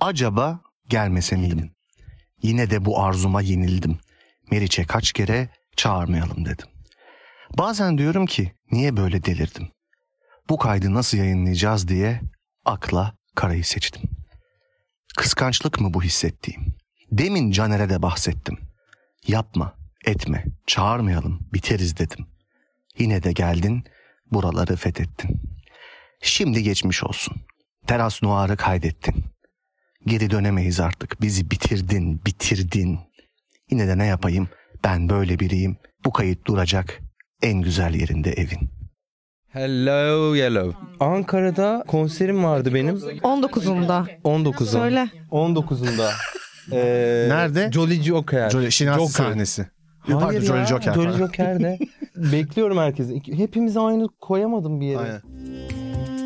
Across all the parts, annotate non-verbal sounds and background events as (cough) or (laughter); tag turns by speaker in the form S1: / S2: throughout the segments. S1: Acaba gelmese miydim? Yine de bu arzuma yenildim. Meriç'e kaç kere çağırmayalım dedim. Bazen diyorum ki niye böyle delirdim? Bu kaydı nasıl yayınlayacağız diye akla karayı seçtim. Kıskançlık mı bu hissettiğim? Demin Caner'e de bahsettim. Yapma, etme, çağırmayalım, biteriz dedim. Yine de geldin, buraları fethettin. Şimdi geçmiş olsun. Teras Noir'ı kaydettin. Geri dönemeyiz artık. Bizi bitirdin, bitirdin. Yine de ne yapayım? Ben böyle biriyim. Bu kayıt duracak en güzel yerinde evin.
S2: Hello Yellow. Ankara'da konserim vardı benim.
S3: 19'unda.
S2: 19'unda.
S3: Söyle.
S4: (laughs)
S2: 19'unda. Ee,
S4: Nerede?
S2: Jolly Joker.
S4: Jolly Şinasi
S2: Joker.
S4: sahnesi.
S2: Hayır
S4: Pardon,
S2: ya,
S4: Jolly Joker.
S2: Jolly
S4: (laughs)
S2: Joker'de. Bekliyorum herkesi. İki- Hepimizi aynı koyamadım bir yere.
S4: Aynen.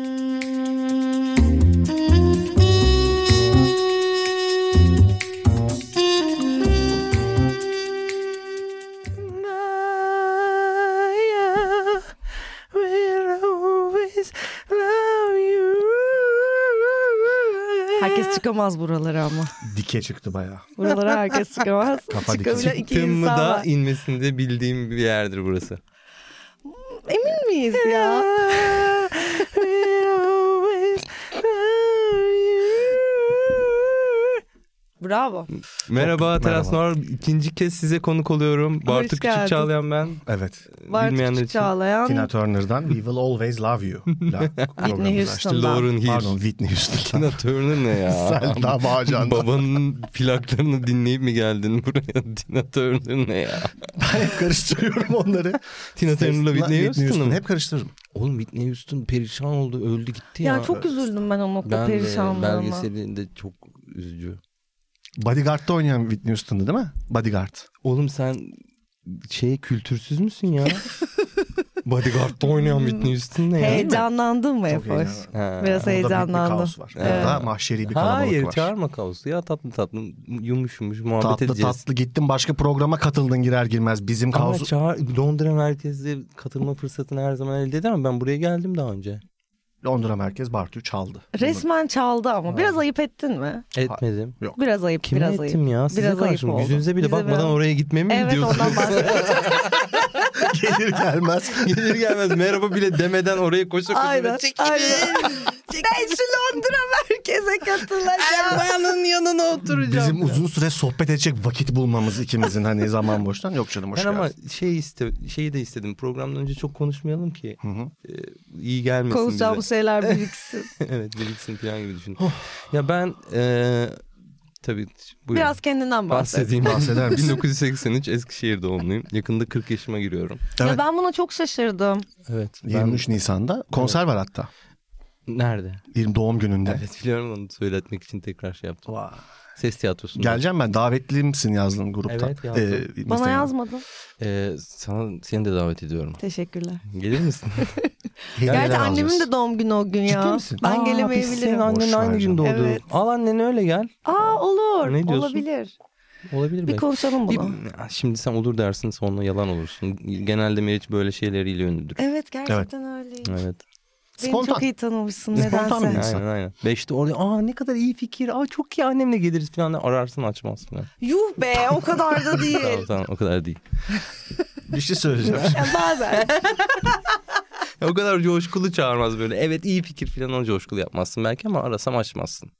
S3: Herkes çıkamaz buralara ama.
S4: Dike çıktı bayağı.
S3: Buralara herkes çıkamaz.
S4: Kafa dikecek.
S3: Çıkabilen iki
S2: Çıktım mı
S3: insan
S2: da
S3: var.
S2: inmesini de bildiğim bir yerdir burası.
S3: Emin miyiz ya? Bravo.
S2: Merhaba
S4: Hop,
S2: Teras Noir. İkinci kez size konuk oluyorum. Bartu Küçük
S3: geldin.
S2: Çağlayan ben.
S4: Evet.
S3: Var
S2: Bilmeyenler
S3: Küçük
S2: için.
S3: Çağlayan.
S4: Tina Turner'dan We Will Always Love (laughs) You. Whitney
S3: Houston. Ondan.
S2: Lauren
S4: Pardon
S2: Hill.
S4: Whitney Houston.
S2: Tina Turner ne (laughs) ya?
S4: Sen daha (laughs) bağcağında.
S2: Babanın plaklarını dinleyip mi geldin buraya? (laughs) Tina Turner ne ya?
S4: Ben hep karıştırıyorum onları.
S2: Tina Turner'la Whitney Houston'ı mı?
S4: Hep karıştırırım.
S2: Oğlum Whitney Houston perişan oldu öldü gitti
S3: Ya çok üzüldüm ben o nokta
S2: ben de
S3: perişanlığıma.
S2: belgeselinde çok üzücü.
S4: Bodyguard'da oynayan Whitney Houston'dı değil mi? Bodyguard.
S2: Oğlum sen şey kültürsüz müsün (laughs) ya? Bodyguard'da oynayan Whitney Houston ne ya?
S3: Heyecanlandın mı
S4: Çok
S3: Efoş?
S4: heyecanlı.
S2: Ha.
S3: Biraz
S4: Orada büyük bir
S3: heyecanlandım.
S4: kaos var.
S2: Ee,
S4: Orada mahşeri bir kalabalık
S2: Hayır
S4: var.
S2: çağırma kaosu ya tatlı tatlı yumuş yumuş muhabbet
S4: tatlı
S2: edeceğiz.
S4: tatlı gittin başka programa katıldın girer girmez bizim
S2: Ama
S4: kaosu.
S2: çağır, Londra merkezde katılma fırsatını her zaman elde edemem. Ben buraya geldim daha önce.
S4: Londra merkez Bartu çaldı.
S3: Resmen çaldı ama. Biraz ayıp ettin mi?
S2: Etmedim.
S3: Biraz ayıp,
S2: Kime
S3: biraz ayıp.
S2: ettim ya? Size
S3: Biraz ayıp
S2: karşı mı?
S3: oldu.
S2: Yüzünüze bile
S3: Bize
S2: bakmadan
S3: biraz-
S2: oraya gitmemi mi
S3: Evet ondan
S2: diyorsunuz?
S3: bahsediyorum.
S4: Gelir gelmez.
S2: (laughs) Gelir gelmez merhaba bile demeden oraya koşa koşa
S3: aynen. aynen. ben şu Londra merkeze katılacağım.
S2: Bayanın yanına oturacağım.
S4: Bizim uzun süre sohbet edecek vakit bulmamız ikimizin hani zaman boştan yok canım hoş
S2: ben ama
S4: geldin.
S2: şey iste, şeyi de istedim. Programdan önce çok konuşmayalım ki.
S4: Hı hı.
S2: Ee, iyi gelmesin
S3: Konuşacağımız şeyler biriksin.
S2: bize. (laughs) evet biriksin falan gibi düşün. ya ben e, tabii buyurun.
S3: Biraz kendinden bahset.
S2: bahsedeyim. (laughs)
S4: Bahseder misin?
S2: 1983 Eskişehir doğumluyum. Yakında 40 yaşıma giriyorum.
S4: Evet.
S3: Ya ben buna çok şaşırdım.
S2: Evet.
S4: 23 Nisan'da konser var hatta.
S2: Nerede?
S4: 20 doğum gününde.
S2: Evet biliyorum onu söyletmek için tekrar şey yaptım.
S4: Vay.
S2: Ses tiyatrosunda.
S4: Geleceğim ben davetlimsin yazdım grupta.
S2: Evet, yazdım.
S4: Ee,
S3: Bana
S4: Instagram.
S3: yazmadın.
S2: Ee, sana seni de davet ediyorum.
S3: Teşekkürler.
S2: Gelir misin?
S4: Hediyeler
S3: Gerçi
S4: alacağız.
S3: annemin de doğum günü o gün ya.
S4: Ciddi misin?
S3: (laughs) Ben
S2: Aa, Biz senin
S3: gelemeyebilirim.
S2: annenin
S4: Boş ver
S2: aynı
S4: canım.
S2: gün doğdu.
S3: Evet.
S2: Al anneni öyle gel.
S3: Aa olur.
S2: Ne diyorsun?
S3: Olabilir.
S2: Olabilir
S3: Bir
S2: belki.
S3: konuşalım
S2: Bir-
S3: bunu.
S2: Ya Şimdi sen olur dersin sonra yalan olursun. Genelde Meriç böyle şeyleriyle ünlüdür.
S3: Evet gerçekten öyleymiş.
S2: Evet.
S3: Beni
S4: Spontan.
S3: çok iyi tanımışsın
S4: Spontan bir
S3: nedense.
S4: insan.
S2: Aynen aynen. Beşte orada aa ne kadar iyi fikir. Aa çok iyi annemle geliriz falan. Ararsın açmaz falan.
S3: Yuh be o kadar da
S2: tamam
S3: değil.
S2: tamam o kadar değil.
S4: Bir
S3: (laughs)
S4: şey söyleyeceğim.
S3: Ya bazen.
S2: o kadar coşkulu çağırmaz böyle. Evet iyi fikir falan o coşkulu yapmazsın belki ama arasam açmazsın.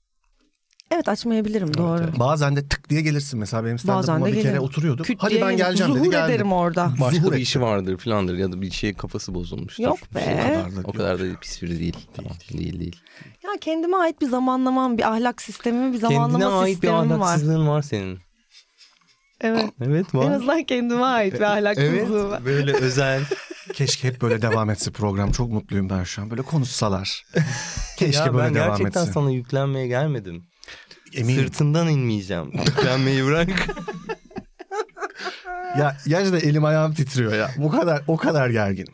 S3: Evet açmayabilirim doğru.
S4: Bazen de tık diye gelirsin. Mesela benim
S3: Bazen
S4: stand-up'ıma
S3: de
S4: bir kere
S3: gelirim.
S4: oturuyorduk.
S3: Küt
S4: Hadi
S3: diye
S4: ben
S3: yerim.
S4: geleceğim dedi
S3: Zuhur
S4: geldim.
S3: ederim orada.
S4: Başka
S2: Başka bir
S4: bir
S2: işi vardır filandır ya da bir şey kafası bozulmuştur.
S3: Yok
S2: Bir şey
S3: be.
S2: vardır.
S4: Vardır,
S2: O
S4: yok.
S2: kadar da pis biri değil. Tamam, değil değil.
S3: Ya kendime ait bir zamanlamam, bir ahlak sistemim, bir
S2: Kendine
S3: zamanlama
S2: ait bir
S3: sistemim var.
S2: ahlaksızlığın var senin.
S3: Evet.
S2: Evet
S3: En
S2: var.
S3: azından kendime ait
S4: E,
S3: bir ahlaksızlığım var.
S2: Böyle (laughs) özel.
S4: Keşke hep böyle devam etse program. Çok mutluyum ben şu an. Böyle konuşsalar. Keşke
S2: ya ben
S4: böyle devam
S2: gerçekten
S4: etse.
S2: sana yüklenmeye gelmedim.
S4: Eminim.
S2: Sırtından inmeyeceğim. Yüklenmeyi bırak.
S4: Ya gerçekten elim ayağım titriyor ya. Bu kadar o kadar gerginim.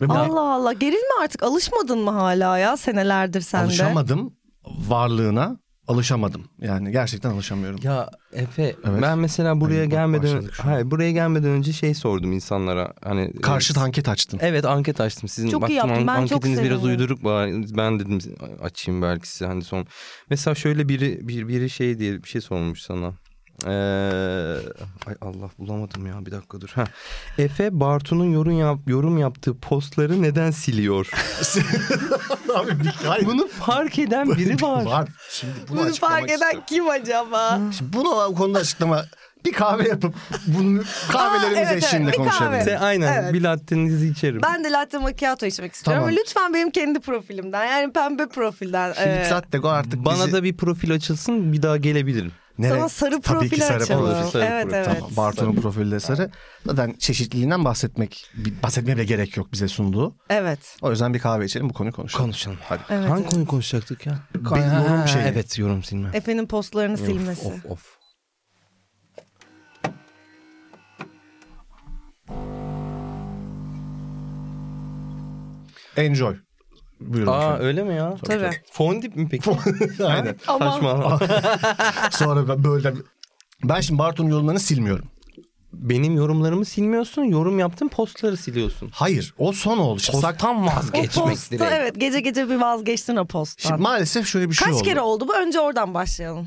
S4: Ve buna
S3: Allah Allah gerilme artık alışmadın mı hala ya senelerdir sende?
S4: alışamadım varlığına. alışamadım. Yani gerçekten alışamıyorum.
S2: Ya Efe
S4: Evet.
S2: ben mesela buraya
S4: Hani bak
S2: gelmeden
S4: başladık şu an.
S2: hayır buraya gelmeden önce şey sordum insanlara. Hani
S4: Karşıt
S2: e,
S4: anket açtın.
S2: Evet anket açtım. Sizin
S3: Çok iyi
S2: baktım an-
S3: yaptın. Ben çok
S2: anketiniz biraz
S3: sevindim.
S2: uyduruk bari. Ben dedim açayım belki size hani son. Mesela şöyle biri bir, biri şey diye bir şey sormuş sana. Ee, ay Allah bulamadım ya bir dakika dur. Ha. Efe Bartu'nun yorum yap, yorum yaptığı postları neden
S3: (laughs)
S2: siliyor?
S4: Abi bir hayır.
S2: Bunu fark eden biri var.
S4: Şimdi bunu,
S3: Bunu
S4: açıklamak
S3: fark eden
S4: istiyorum.
S3: kim acaba?
S4: Şimdi bunu o konuda açıklama bir kahve yapıp bunu kahvelerimiz
S3: Aa, evet, evet,
S4: eşliğinde
S3: bir kahve.
S4: konuşalım.
S2: (laughs) Sen- aynen
S3: Evet.
S2: bir lattenizi içerim.
S3: Ben de latte macchiato içmek istiyorum.
S4: Tamam.
S3: Ama lütfen benim kendi profilimden. Yani pembe profilden.
S4: Şimdi
S3: e,
S4: zaten artık
S2: Bana
S4: bizi...
S2: da bir profil açılsın bir daha gelebilirim.
S3: sana sarı
S4: Tabii ki
S3: profil
S4: sarı
S3: açalım.
S4: profil.
S2: sarı
S3: evet
S2: profil.
S3: evet.
S4: Tamam. Bartu'nun profili de sarı. Zaten çeşitliliğinden bahsetmek bahsetmeye bile gerek yok bize sunduğu.
S3: Evet.
S4: O yüzden bir kahve içelim bu konuyu konuşalım.
S2: Konuşalım. Hadi.
S3: Evet,
S2: Hangi
S3: evet.
S2: konuyu konuşacaktık ya?
S4: Konu- yorum şeyi.
S2: Evet yorum silme.
S3: Efe'nin postlarını silmesi.
S2: Of of.
S4: Enjoy. Buyurun
S2: Aa
S4: efendim.
S2: öyle mi ya?
S3: Tabii.
S2: Fondip mi peki?
S3: (laughs)
S4: (laughs) Aynen.
S3: Aman.
S2: (laughs) Saçmalama.
S4: Sonra ben böyle ben şimdi Bartu'nun yorumlarını silmiyorum.
S2: Benim yorumlarımı silmiyorsun, yorum yaptığın postları siliyorsun.
S4: Hayır, o son oldu. Şimdi, sak-
S2: Postan
S3: O
S2: vazgeçmek
S3: posta
S2: direkt.
S3: evet gece gece bir vazgeçtin o posttan.
S4: şimdi maalesef şöyle bir şey
S3: Kaç
S4: oldu.
S3: kere oldu bu? Önce oradan başlayalım.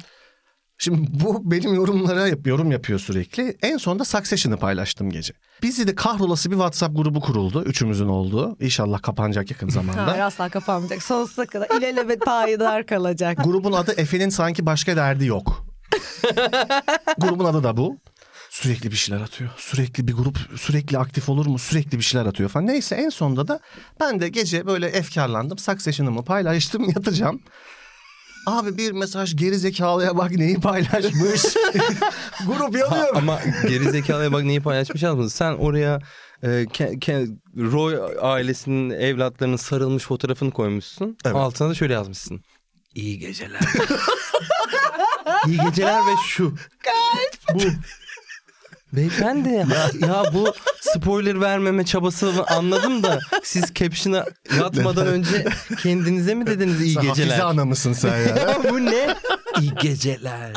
S4: Şimdi bu benim yorumlara yap- yorum yapıyor sürekli. En sonunda Succession'ı paylaştım gece. Bizi de kahrolası bir WhatsApp grubu kuruldu. Üçümüzün olduğu. İnşallah
S3: (laughs)
S4: kapanacak yakın
S3: Ha,
S4: zamanda.
S3: asla kapanmayacak. Sonsuza kadar ilelebet
S2: (laughs)
S3: payidar kalacak.
S4: Grubun adı Efe'nin sanki başka
S3: (laughs)
S4: derdi yok. Grubun adı da bu. Sürekli bir şeyler atıyor. Sürekli bir grup sürekli aktif olur mu? Sürekli bir şeyler atıyor falan. Neyse en sonunda da ben de gece böyle efkarlandım. Succession'ımı paylaştım yatacağım. Abi bir mesaj geri zekalıya bak neyi paylaşmış.
S3: (laughs)
S4: Grup
S2: Ha,
S4: yanıyor.
S2: ama geri zekalıya bak neyi paylaşmış yalnız. Sen oraya e, Ke- Ke- Roy ailesinin evlatlarının sarılmış fotoğrafını koymuşsun. Altına da şöyle yazmışsın. İyi
S4: (laughs)
S2: geceler. İyi geceler ve şu. Bu. Beyefendi ya, ya bu spoiler vermeme çabası anladım da siz caption'a yatmadan önce kendinize mi dediniz iyi
S4: Sen Hafize
S2: geceler?
S4: ana mısın sen ya?
S2: Ya bu ne? İyi geceler.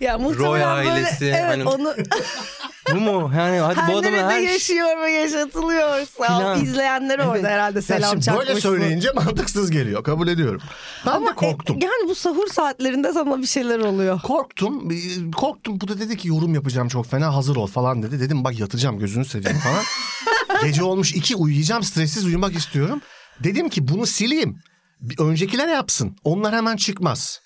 S3: Ya muhtemelen
S2: Roy
S3: böyle,
S2: ailesi,
S3: evet,
S2: hani-
S3: onu
S2: Bu mu? Yani hadi (laughs) bu
S3: her
S2: adamın
S3: nerede
S2: her şey-
S3: yaşıyor ve yaşatılıyorsa
S2: Plan.
S3: o izleyenler orada herhalde (laughs)
S4: Ya
S3: selam
S4: şimdi
S3: çakmışsın.
S4: böyle söyleyince mantıksız geliyor kabul ediyorum. Ben de korktum.
S3: e, yani bu sahur saatlerinde sana bir şeyler oluyor.
S4: Korktum. e, Korktum. Bu da dedi ki yorum yapacağım çok fena hazır ol falan dedi. Dedim bak yatacağım gözünü seveyim falan. Gece olmuş iki uyuyacağım stressiz uyumak istiyorum. Dedim ki bunu sileyim. Bir öncekiler yapsın. Onlar hemen çıkmaz.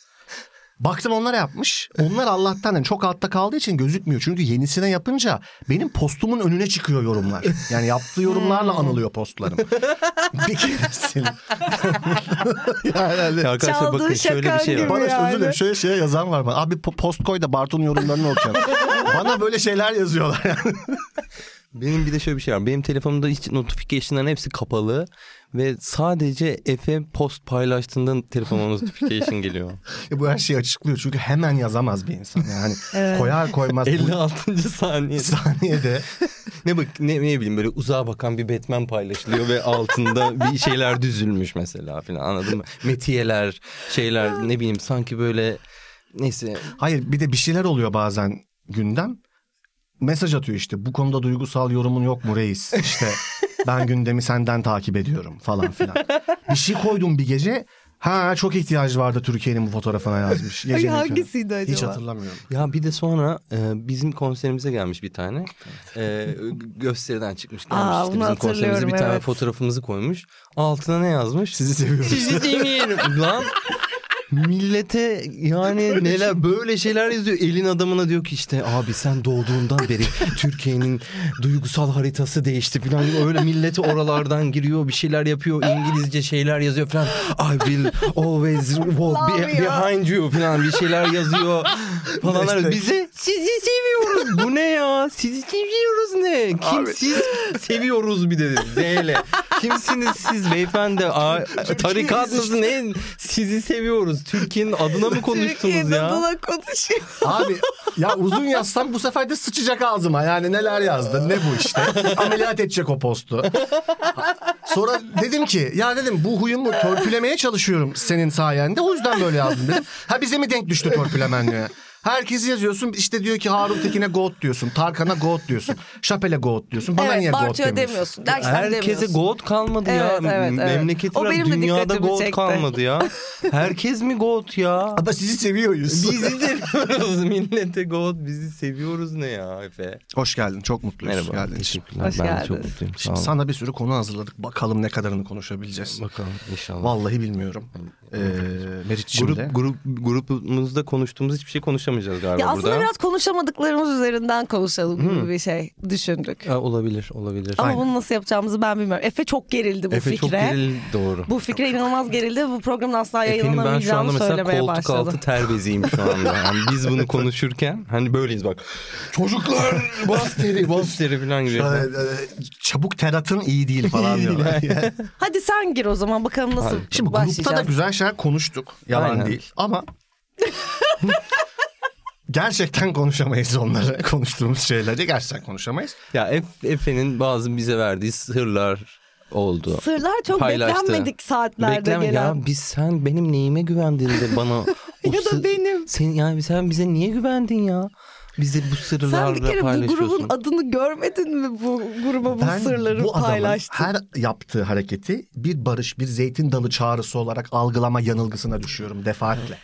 S4: Baktım onlar yapmış. Onlar Allah'tan yani çok altta kaldığı için gözükmüyor. Çünkü yenisine yapınca benim postumun önüne çıkıyor yorumlar. Yani yaptığı yorumlarla anılıyor postlarım. bir kere sil. yani,
S2: Ya arkadaşlar
S3: Çaldığı
S2: bakın şöyle bir
S3: şakan
S2: şey var.
S3: gibi.
S4: bana
S3: yani.
S4: özür dilerim şöyle şeye yazan var bana. Abi po- post koy da Bartu'nun
S3: (laughs)
S4: yorumlarını okuyalım. bana böyle şeyler yazıyorlar (laughs) yani.
S2: Benim bir de şöyle bir şey var. Benim telefonumda hiç notification'ların hepsi kapalı ve sadece Efe post paylaştığında telefonuma notification geliyor.
S4: Bu her şeyi açıklıyor çünkü hemen yazamaz bir insan. Yani
S3: (laughs) Evet.
S4: koyar koymaz bu (laughs)
S2: 56. saniye.
S4: saniyede
S2: ne bak ne, ne bileyim böyle uzağa bakan bir Batman paylaşılıyor ve altında bir şeyler düzülmüş mesela filan anladın mı? Metiyeler, şeyler ne bileyim sanki böyle neyse
S4: Hayır bir de bir şeyler oluyor bazen gündem. Mesaj atıyor işte bu konuda duygusal yorumun yok mu reis?
S3: (laughs)
S4: İşte ben gündemi senden takip ediyorum falan filan. Bir şey koydum bir gece. Ha çok ihtiyacı vardı Türkiye'nin bu fotoğrafına yazmış. Gecenin körü.
S3: hangisiydi acaba?
S4: Hiç hatırlamıyorum.
S2: (laughs) Ya bir de sonra e, bizim konserimize gelmiş bir tane. E, gösteriden çıkmış gelmiş
S3: Aa,
S2: işte
S3: bunu
S2: bizim konserimize bir
S3: hatırlıyorum,
S2: tane
S3: evet.
S2: fotoğrafımızı koymuş. Altına ne yazmış?
S4: Sizi seviyorum.
S2: Sizi dinleyelim. Lan millete yani neler böyle şeyler yazıyor. Elin adamına diyor ki işte abi sen doğduğundan beri Türkiye'nin duygusal haritası değişti falan. Öyle milleti oralardan giriyor bir şeyler yapıyor. İngilizce şeyler yazıyor falan. I will always walk be-
S3: Love you.
S2: behind you falan bir şeyler yazıyor. falanlar
S4: Destek.
S2: bizi sizi seviyoruz. Bu ne ya? Sizi seviyoruz ne? Kim
S1: Abi.
S2: siz seviyoruz bir de Z ile. Kimsiniz siz beyefendi? A- tarikat mısın? Ne? Sizi seviyoruz. Türkiye'nin adına mı konuştunuz
S3: Türkiye'de
S2: ya?
S3: bana konuşuyor.
S4: Abi ya uzun yazsam bu sefer de sıçacak ağzıma. Yani neler yazdı ne bu işte. Ameliyat edecek o postu. Sonra dedim ki ya dedim bu huyumu törpülemeye çalışıyorum senin sayende. O yüzden böyle yazdım dedim. Ha bize mi denk düştü törpülemen diyor. Herkesi yazıyorsun işte diyor ki Harun Tekin'e goat diyorsun. Tarkan'a goat diyorsun. Şapel'e goat diyorsun. Bana niye
S3: evet
S4: goat
S3: Bartu'ya
S4: demiyorsun?
S3: demiyorsun. Dersten
S2: Herkese
S3: demiyorsun.
S2: gold kalmadı ya.
S3: Evet, evet, evet.
S2: Memleketi
S3: O
S2: bırak,
S3: benim de
S2: dünyada
S3: dikkatimi
S2: gold
S3: çekti.
S2: kalmadı ya. Herkes mi gold ya?
S4: Ama sizi seviyoruz.
S2: Bizi
S3: (laughs)
S2: seviyoruz millete gold. Bizi seviyoruz ne ya Efe?
S1: Hoş geldin. Çok mutluyuz. Geldin.
S2: Teşekkürler.
S3: Hoş
S2: ben de
S3: geldin.
S2: çok mutluyum. Sağ
S4: Şimdi
S2: olun.
S4: sana bir sürü konu hazırladık. Bakalım ne kadarını konuşabileceğiz.
S2: Bakalım inşallah.
S4: Vallahi bilmiyorum. Ee, Meriç'ciğim de.
S2: Grup, grup, grupumuzda konuştuğumuz hiçbir şey konuşamayacağız galiba
S3: Ya aslında
S2: burada.
S3: biraz konuşamadıklarımız üzerinden konuşalım gibi bir şey düşündük.
S2: Ha, Ee, olabilir, olabilir.
S3: Ama
S2: Aynen.
S3: bunu nasıl yapacağımızı ben bilmiyorum. Efe çok gerildi bu
S2: Efe
S3: fikre.
S2: çok geril doğru.
S3: Bu fikre inanılmaz gerildi. Bu programın asla
S2: Efe'nin ben şu anda
S3: yayınlanamayacağını
S2: mesela
S3: söylemeye
S2: koltuk
S3: başladı.
S2: altı terbeziyim şu
S3: (laughs)
S2: anda. Yani biz bunu konuşurken hani böyleyiz bak. (laughs) Çocuklar bas teri bas teri falan gibi.
S4: Ee, e, çabuk teratın iyi değil falan
S2: İyi değil,
S4: diyorlar.
S3: Hadi sen gir o zaman bakalım nasıl
S2: Hadi.
S4: Şimdi grupta da
S3: başlayacağız.
S4: güzel şeyler konuştuk. Yalan
S2: Aynen.
S4: değil. Ama gerçekten konuşamayız onları. (laughs) Konuştuğumuz şeyleri gerçekten konuşamayız.
S2: Ya Ef- Efe'nin bazı bize verdiği sırlar oldu.
S3: Sırlar çok
S2: paylaştı.
S3: beklenmedik saatlerde
S2: Bekleme
S3: gelen.
S2: ya biz sen benim neyime güvendin de bana o
S3: (laughs) Ya da
S2: sı-
S3: benim.
S2: Sen yani sen bize niye güvendin ya? Bize bu sırlarla
S3: Sen bir kere bu
S2: paylaşıyorsun.
S3: grubun adını görmedin mi bu gruba bu sırları
S4: bu adamın
S3: paylaştın?
S4: her yaptığı hareketi bir barış, bir zeytin dalı çağrısı olarak algılama yanılgısına düşüyorum defaatle.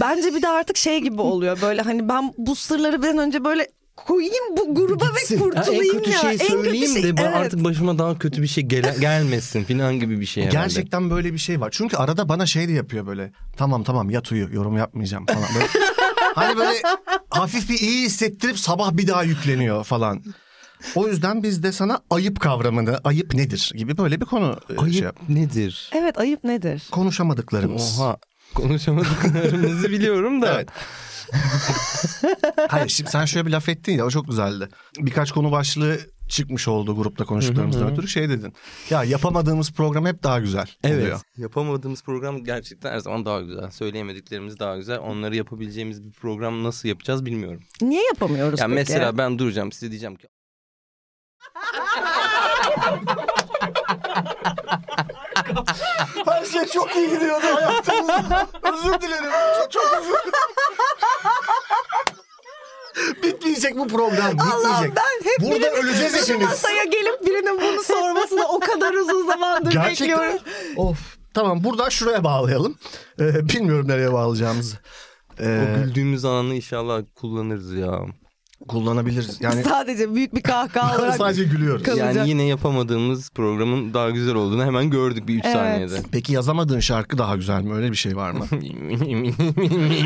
S3: Bence bir de artık şey gibi oluyor böyle hani ben bu sırları ben önce böyle koyayım bu gruba ve
S4: Gitsin.
S2: Ya
S3: kurtulayım
S2: en
S3: ya.
S2: kötü şeyi söyleyeyim
S3: şey-
S2: de ben
S3: evet.
S2: artık başıma daha kötü bir şey gele- gelmesin falan gibi bir şey herhalde.
S4: Gerçekten böyle bir şey var. Çünkü arada bana şey de yapıyor böyle. Tamam tamam yat uyu yorum yapmayacağım falan.
S2: (laughs)
S4: Böyle, hani böyle hafif bir iyi hissettirip sabah bir daha yükleniyor falan. O yüzden biz de sana ayıp kavramını, ayıp nedir gibi böyle bir konu e, şey yap-
S2: Ayıp nedir?
S3: Evet ayıp nedir?
S4: konuşamadıklarımız.
S2: Oha konuşamadıklarımızı biliyorum da.
S4: Evet.
S2: Oh.
S4: Hayır şimdi sen şöyle bir laf ettin ya o çok güzeldi. Birkaç konu başlığı çıkmış oldu grupta konuştuklarımızdan ötürü şey dedin. Ya yapamadığımız program hep daha güzel
S2: Evet.
S4: oluyor.
S2: Yapamadığımız program gerçekten her zaman daha güzel. Söyleyemediklerimiz daha güzel. Onları yapabileceğimiz bir program nasıl yapacağız bilmiyorum.
S3: Niye yapamıyoruz
S2: Ya
S3: peki?
S2: mesela ben duracağım size diyeceğim ki
S4: Her şey çok iyi gidiyordu hayatımızda. Özür dilerim. Çok, çok özür dilerim. Bitmeyecek bu program. Bitmeyecek.
S3: Allah'ım ben hep
S4: Burada
S3: birinin
S4: öleceğiz
S3: şu
S4: hepimiz.
S3: masaya gelip birinin bunu sormasını o kadar uzun zamandır
S4: Gerçekten.
S3: bekliyorum.
S4: Of. Tamam buradan şuraya bağlayalım. Ee, bilmiyorum nereye bağlayacağımızı. Ee,
S2: o güldüğümüz anı inşallah kullanırız ya.
S4: kullanabiliriz. Yani
S3: Sadece büyük bir
S4: (laughs)
S3: kahkaha olarak.
S4: sadece gülüyoruz.
S3: Kal- Kalacak.
S2: Yani yine yapamadığımız programın daha güzel olduğunu hemen gördük bir 3
S3: Evet. (laughs)
S2: saniyede.
S4: Peki yazamadığın şarkı daha güzel mi? Öyle bir şey var mı?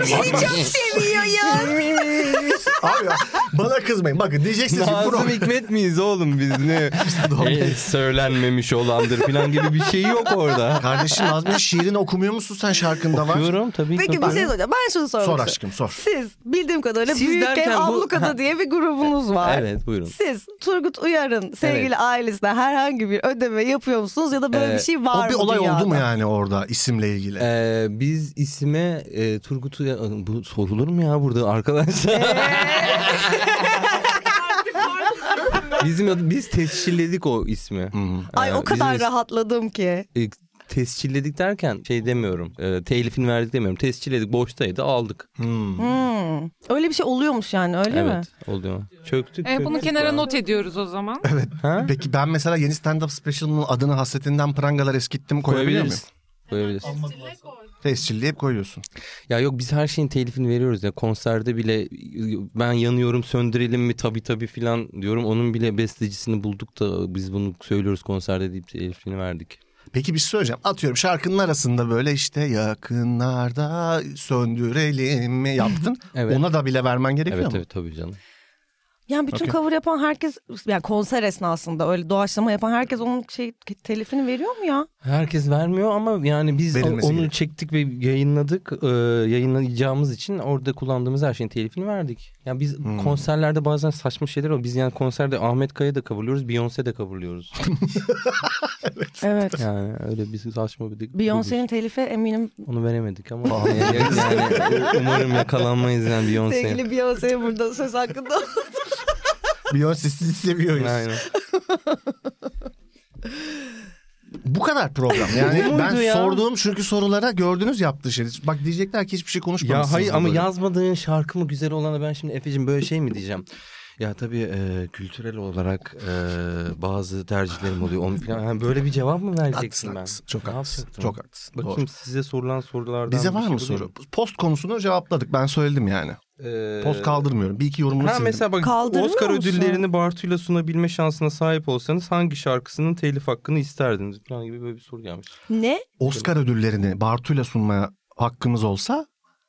S3: Seni çok seviyor ya.
S4: (laughs) Abi ya, bana kızmayın. Bakın diyeceksiniz ki pro...
S2: Nazım Hikmet miyiz oğlum biz (laughs) ne? E, söylenmemiş olandır falan gibi bir şey yok orada.
S4: Kardeşim Nazmi'nin şiirini okumuyor musun sen şarkında var?
S2: Diyorum tabii ki.
S3: Peki bir şey soracağım. Ben şunu sormak
S4: Sor
S3: istiyorum.
S4: aşkım sor.
S3: Siz bildiğim kadarıyla
S2: Siz
S3: Büyük Ev
S2: derken bu-
S3: Ablukada
S2: Ha.
S3: diye bir grubunuz var.
S2: Evet buyurun.
S3: Siz Turgut Uyar'ın sevgili
S2: Evet.
S3: ailesine herhangi bir ödeme yapıyor musunuz ya da böyle
S2: Ee,
S3: bir şey var
S4: O bir
S3: mı
S4: olay
S3: dünyada?
S4: oldu mu yani orada isimle ilgili?
S2: Ee, biz isime e, Turgut'u ya- bu sorulur mu ya burada
S3: Ee?
S2: arkadaşlar? (laughs) Bizim adı- biz tescilledik o ismi.
S3: Ay
S2: Ee,
S3: o kadar
S2: bizim is-
S3: rahatladım ki.
S2: e, tescilledik derken şey demiyorum. E, telifini verdik demiyorum. Tescilledik boştaydı aldık.
S3: Hmm. Öyle bir şey oluyormuş yani öyle mi?
S2: evet oluyor. Çöktük.
S5: E,
S6: Evet, bunu
S2: çöktük
S6: kenara
S2: ya.
S6: not ediyoruz o zaman.
S2: Ha?
S4: Peki ben mesela yeni stand-up special'ımın adını hasretinden prangalar eskittim koyabilir miyim?
S2: Koyabiliriz. Koyabiliriz.
S4: Tescilli hep koyuyorsun.
S2: Ya yok biz her şeyin telifini veriyoruz ya konserde bile e, ben yanıyorum söndürelim mi tabi tabi filan diyorum. Onun bile bestecisini bulduk da biz bunu söylüyoruz konserde deyip telifini verdik.
S4: Peki bir şey söyleyeceğim. Atıyorum şarkının arasında böyle işte yakınlarda söndürelim mi yaptın.
S2: Evet. (laughs)
S4: Ona da bile vermen gerekiyor
S2: evet
S4: mu?
S2: evet tabii canım.
S3: Yani bütün
S4: Okey.
S3: cover yapan herkes yani konser esnasında öyle doğaçlama yapan herkes onun şey telifini veriyor mu ya?
S2: Herkes vermiyor ama yani biz
S4: Verilmesi
S2: onu
S4: gerek.
S2: çektik ve yayınladık. Ee, yayınlayacağımız için orada kullandığımız her şeyin telifini verdik. Yani biz
S4: Hmm.
S2: konserlerde bazen saçma şeyler oluyor. Biz yani konserde Ahmet Kaya da kavurluyoruz, Beyoncé de
S4: (laughs)
S2: kavurluyoruz.
S3: Evet.
S2: (laughs) yani öyle bir saçma bir
S3: Beyoncé'nin telifi eminim
S2: Onu veremedik ama yani, yani umarım yakalanmayız yani Beyoncé.
S3: sevgili Beyoncé burada söz hakkında.
S4: Beyoncé sizi (laughs) seviyoruz.
S2: Aynen.
S4: Bu kadar program. Yani
S2: (laughs) Bu
S4: ben
S2: muydu ya?
S4: sorduğum çünkü sorulara gördünüz yaptığı şey. Bak diyecekler ki hiçbir şey konuşmamışsınız.
S2: Ya hayır
S4: da
S2: ama
S4: böyle.
S2: yazmadığın şarkı mı güzel olana ben şimdi Efe'cim böyle şey mi diyeceğim? Ya tabii e, kültürel olarak e, bazı tercihlerim oluyor. Onu falan. Yani böyle bir cevap mı vereceksin
S4: Haklısın,
S2: ben?
S4: haklısın. Çok
S2: Ne
S4: haklısın.
S2: yapacaktım?
S4: Çok haklısın.
S2: Bakayım
S4: Doğru.
S2: size sorulan sorulardan.
S4: Bize
S2: bir
S4: var
S2: şey
S4: mı
S2: bulayım.
S4: soru? Post konusunu cevapladık. Ben söyledim yani.
S2: Ee,
S4: Post kaldırmıyorum. Bir iki yorumunu
S2: Ha
S4: sildim.
S2: mesela bak
S3: Kaldırmıyor
S2: Oscar
S3: musun?
S2: ödüllerini Bartu'yla sunabilme şansına sahip olsanız hangi şarkısının telif hakkını isterdiniz? Falan gibi böyle bir soru gelmiş.
S3: (laughs) ne?
S4: Oscar ödüllerini Bartu'yla sunmaya hakkımız olsa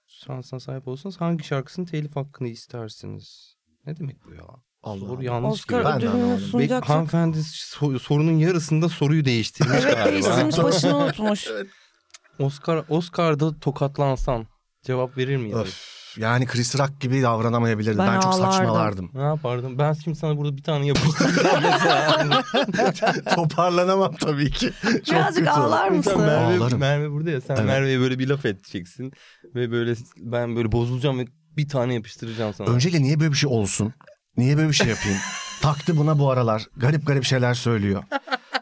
S2: Şansına sahip olsanız hangi şarkısının telif hakkını istersiniz? Ne demek bu ya?
S4: Allah
S2: Soru
S4: Allah.
S2: yanlış gibi.
S3: Oscar
S4: Ben de anlamadım.
S3: ödülünü
S4: Be-
S2: Be-
S3: sunacaksak.
S2: Hanımefendi so- sorunun yarısında soruyu değiştirmiş
S3: Evet
S2: galiba.
S3: değiştirmiş başını unutmuş.
S2: Oscar, Oscar'da tokatlansan cevap verir miydin?
S4: Öf, yani Chris Rock gibi davranamayabilirdim. Ben,
S3: Ben
S4: çok
S3: ağlardım. (laughs)
S4: saçmalardım.
S2: Ne yapardım? Ben şimdi sana burada bir tane (laughs) yapıştıracağım mesela. hani
S4: Toparlanamam tabii ki. Çok
S3: Birazcık
S4: kötü olur.
S3: ağlar mısın?
S2: Sen Merve,
S4: Ağlarım.
S2: Merve burada ya. Sen
S4: Evet.
S2: Merve'ye böyle bir laf edeceksin. Ve böyle ben böyle bozulacağım ve bir tane yapıştıracağım sana.
S4: Öncelikle niye böyle bir şey olsun? Niye böyle bir şey yapayım?
S3: (laughs)
S4: Taktı buna bu aralar. Garip garip şeyler söylüyor.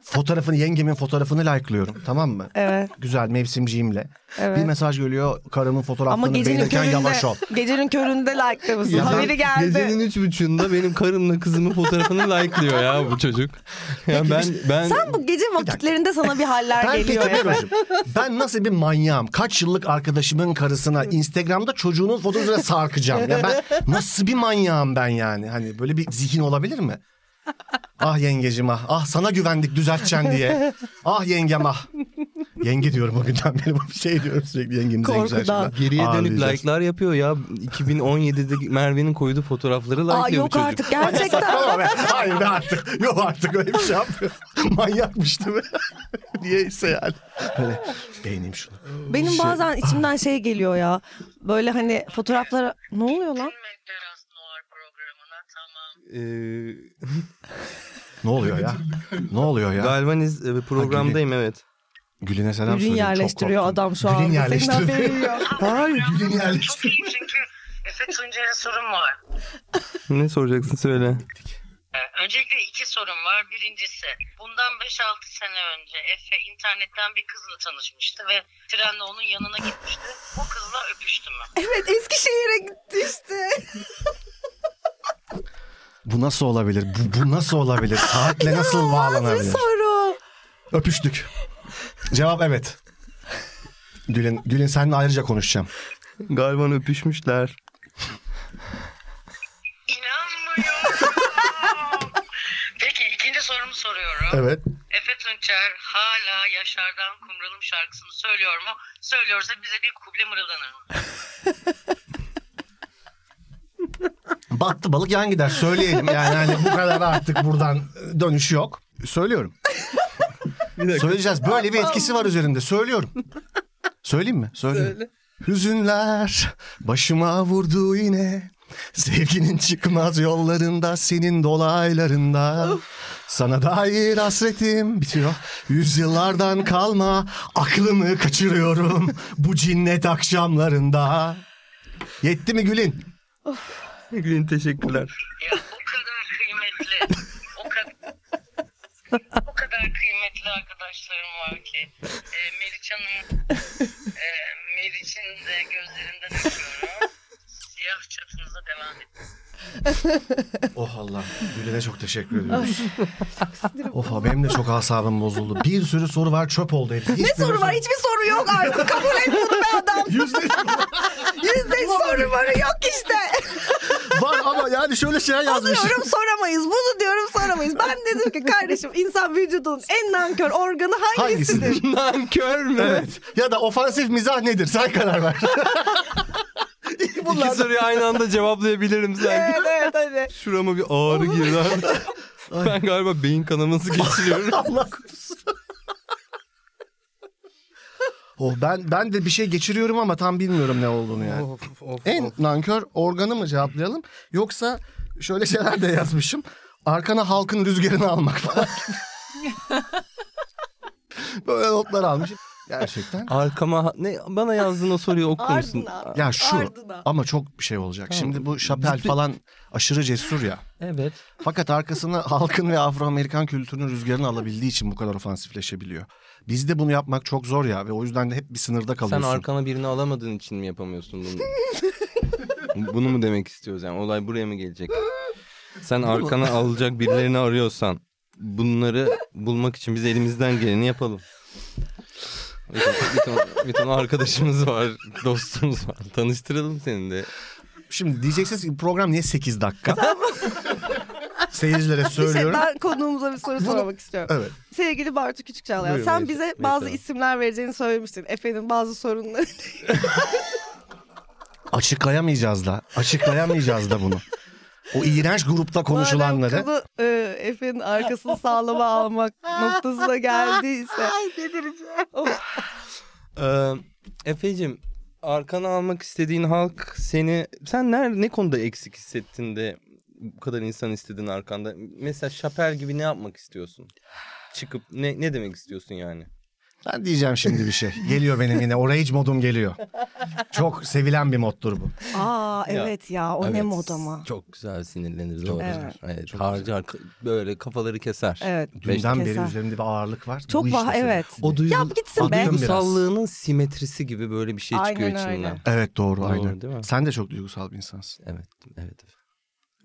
S4: Fotoğrafını yengemin fotoğrafını like'lıyorum tamam mı?
S3: Evet
S4: Güzel mevsimciğimle. Bir
S3: evet.
S4: mesaj geliyor karımın
S3: Ama
S4: fotoğraflarını
S3: gecenin
S4: beğenirken
S3: köründe,
S4: yavaş ol.
S3: gecenin köründe like'lamışsın.
S2: Gece-
S3: Haberi geldi.
S2: Gecenin üç buçuğunda benim karımla kızımın
S3: (laughs)
S2: fotoğrafını like'lıyor ya bu çocuk. Yani ben, ben...
S3: Sen bu gece vakitlerinde sana bir haller
S4: Ben
S3: geliyor.
S4: peki Mero'cum, ben nasıl bir manyağım? Kaç yıllık arkadaşımın karısına Instagram'da çocuğunun fotoğrafına sarkacağım. Ya ben nasıl bir manyağım ben yani? Hani böyle bir zihin olabilir mi? Ah yengecim ah. Ah sana güvendik düzelteceksin diye. Ah yengem ah. Yenge diyorum o günden beri bu şey diyorum sürekli yengemize
S3: Korkudan.
S2: Geriye dönük
S4: Ağlayacağız.
S2: like'lar yapıyor ya. 2017'de Merve'nin koyduğu fotoğrafları like'lıyor
S3: Aa
S2: bu
S3: yok
S2: çocuk.
S3: artık
S4: Hayır,
S3: gerçekten.
S4: saçmalama be. Hayır be artık. Yok artık öyle bir şey yapmıyorum. (laughs) Manyakmış değil mi? (laughs) Niyeyse yani. Böyle beğeneyim şunu.
S3: Benim bazen içimden şey geliyor ya. Böyle hani fotoğraflara ne oluyor lan?
S6: Medderas Noir programına tamam.
S2: Ee,
S4: Ne oluyor ya? Ne oluyor ya?
S2: Galvaniz e, programdayım evet.
S4: Gülin'e selam
S3: Ürün
S4: söyleyeyim. Çok
S3: yerleştiriyor
S4: korktum.
S3: adam şu
S4: Gülün
S3: an.
S4: yerleştiriyor.
S6: Hayır,
S4: Gülün
S6: Çok
S4: yerleştiriyor.
S6: iyi çünkü Efe Tuncer'e sorum var.
S2: Ne soracaksın söyle.
S6: Ee, Öncelikle iki sorum var. Birincisi, bundan 5-6 sene önce Efe internetten bir kızla tanışmıştı ve trenle onun yanına gitmişti. O kızla öpüştü mü?
S3: Evet Eskişehir'e gitti işte.
S4: Bu nasıl olabilir? Bu, bu nasıl olabilir? Saatle nasıl
S3: Bir
S4: bağlanabilir?
S3: soru.
S4: Öpüştük. Cevap evet. Gülün, Gülün seninle ayrıca konuşacağım.
S2: Galvan öpüşmüşler.
S6: İnanmıyorum. Peki ikinci sorumu soruyorum.
S4: Evet.
S6: Efe Tuncer hala Yaşar'dan Kumralım şarkısını söylüyor mu? Söylüyorsa bize bir kuble mırıldanır mı?
S4: Battı balık yan gider. Söyleyelim yani. Hani bu kadar artık buradan dönüş yok. Söylüyorum.
S2: Bir dakika.
S4: Söyleyeceğiz. Böyle bir etkisi var üzerinde. Söylüyorum. Söyleyeyim mi? Söyleyeyim. Hüzünler başıma vurdu yine. Sevginin çıkmaz yollarında, senin dolaylarında. Sana dair hasretim bitiyor. Yüzyıllardan kalma, aklımı kaçırıyorum bu cinnet akşamlarında. Yetti mi Gül'in?
S2: Gülün teşekkürler. (laughs)
S6: Ya o kadar kıymetli. O kadar o kadar kıymetli arkadaşlarım var ki. Ee, Meriç Hanım, e, Meriç'in de gözlerinden öpüyorum. Siyah çatınıza devam edin.
S4: Oh Allah. Gül'e de çok teşekkür ediyoruz. Oha benim de çok asabım bozuldu. Bir sürü soru var çöp oldu hepsi.
S3: Ne soru var? Hiçbir soru yok artık. Kabul et bunu be
S4: (laughs)
S3: adam. Yüzde yüz soru var. Yok işte.
S4: var ama yani şöyle şey yazmış.
S3: Diyorum soramayız. Bunu diyorum soramayız. Ben dedim ki kardeşim insan vücudunun en nankör organı hangisidir?
S4: Hangisidir?
S2: Nankör mü? (laughs)
S4: Evet. Ya da ofansif mizah nedir? Sen karar ver.
S2: (laughs) İki soruyu aynı anda cevaplayabilirim sanki.
S3: Evet evet. Evet.
S2: Şurama bir ağrı girdi abi. (laughs) ben galiba beyin kanaması (laughs) geçiriyorum.
S4: (laughs) Allah korusun. (laughs) oh ben ben de bir şey geçiriyorum ama tam bilmiyorum ne olduğunu yani.
S2: of, of,
S4: en nankör organı mı cevaplayalım yoksa şöyle şeyler de yazmışım. Arkana halkın rüzgarını almak falan. (laughs) Böyle notlar almışım. Gerçekten.
S2: Arkama ne bana yazdığın o soruyu okur musun?
S3: Ardına.
S4: Ya şu
S3: Ardına.
S4: ama çok bir şey olacak.
S2: Tamam.
S4: Şimdi bu şapel
S2: Ciddi-
S4: falan aşırı cesur ya.
S2: Evet.
S4: Fakat arkasına halkın ve Afro-Amerikan kültürünün rüzgarını alabildiği için bu kadar ofansifleşebiliyor. Bizde bunu yapmak çok zor ya ve o yüzden de hep bir sınırda
S2: Sen
S4: kalıyorsun.
S2: arkana birini alamadığın için mi yapamıyorsun bunu? (laughs) bunu mu demek istiyoruz yani? Olay buraya mı gelecek? Sen arkana alacak birilerini arıyorsan bunları bulmak için biz elimizden geleni yapalım. Bir ton, bir ton- bir ton arkadaşımız var, dostumuz var. Tanıştıralım seni de.
S4: Şimdi diyeceksiniz ki program niye 8 dakika? Seyircilere
S3: Bir şey,
S4: söylüyorum.
S3: ben konuğumuza bir soru sormak istiyorum.
S4: Evet.
S3: Sevgili Bartu Küçükçal ya,
S2: Buyurun,
S3: sen
S2: Melisa-
S3: bize
S2: Melisa
S3: bazı
S2: Hanım.
S3: isimler vereceğini söylemiştin. Efe'nin bazı sorunları.
S4: Açıklayamayacağız da. Açıklayamayacağız da bunu. O iğrenç grupta konuşulanları.
S3: Madem kılı, e, Efe'nin arkasını sağlama (laughs) almak noktasına geldiyse.
S2: Ee, Efe'cim arkana almak istediğin halk seni... Sen ner, ne konuda eksik hissettin de bu kadar insan istedin arkanda? Mesela şapel gibi ne yapmak istiyorsun? Çıkıp ne, ne demek istiyorsun yani?
S4: Ben diyeceğim şimdi bir şey. Geliyor benim yine. O rage modum geliyor. Çok sevilen bir moddur bu.
S3: Aa evet ya, o ne
S2: Evet,
S3: mod ama.
S2: Çok güzel sinirlenir. Doğru.
S3: güzel.
S2: Evet, harcar böyle kafaları keser.
S3: Evet.
S4: Dünden beri
S3: Keser.
S4: üzerimde bir ağırlık var.
S3: Çok
S4: Bu işte
S3: vah
S4: senin.
S3: evet.
S2: O duygu,
S3: Ya gitsin be.
S4: Aklım-
S2: duygusallığının simetrisi gibi böyle bir şey çıkıyor
S3: Aynen
S2: içinden.
S3: öyle.
S4: Evet doğru,
S2: Doğru,
S4: aynen.
S2: değil mi?
S4: Sen de çok duygusal bir insansın.
S2: Evet. Evet.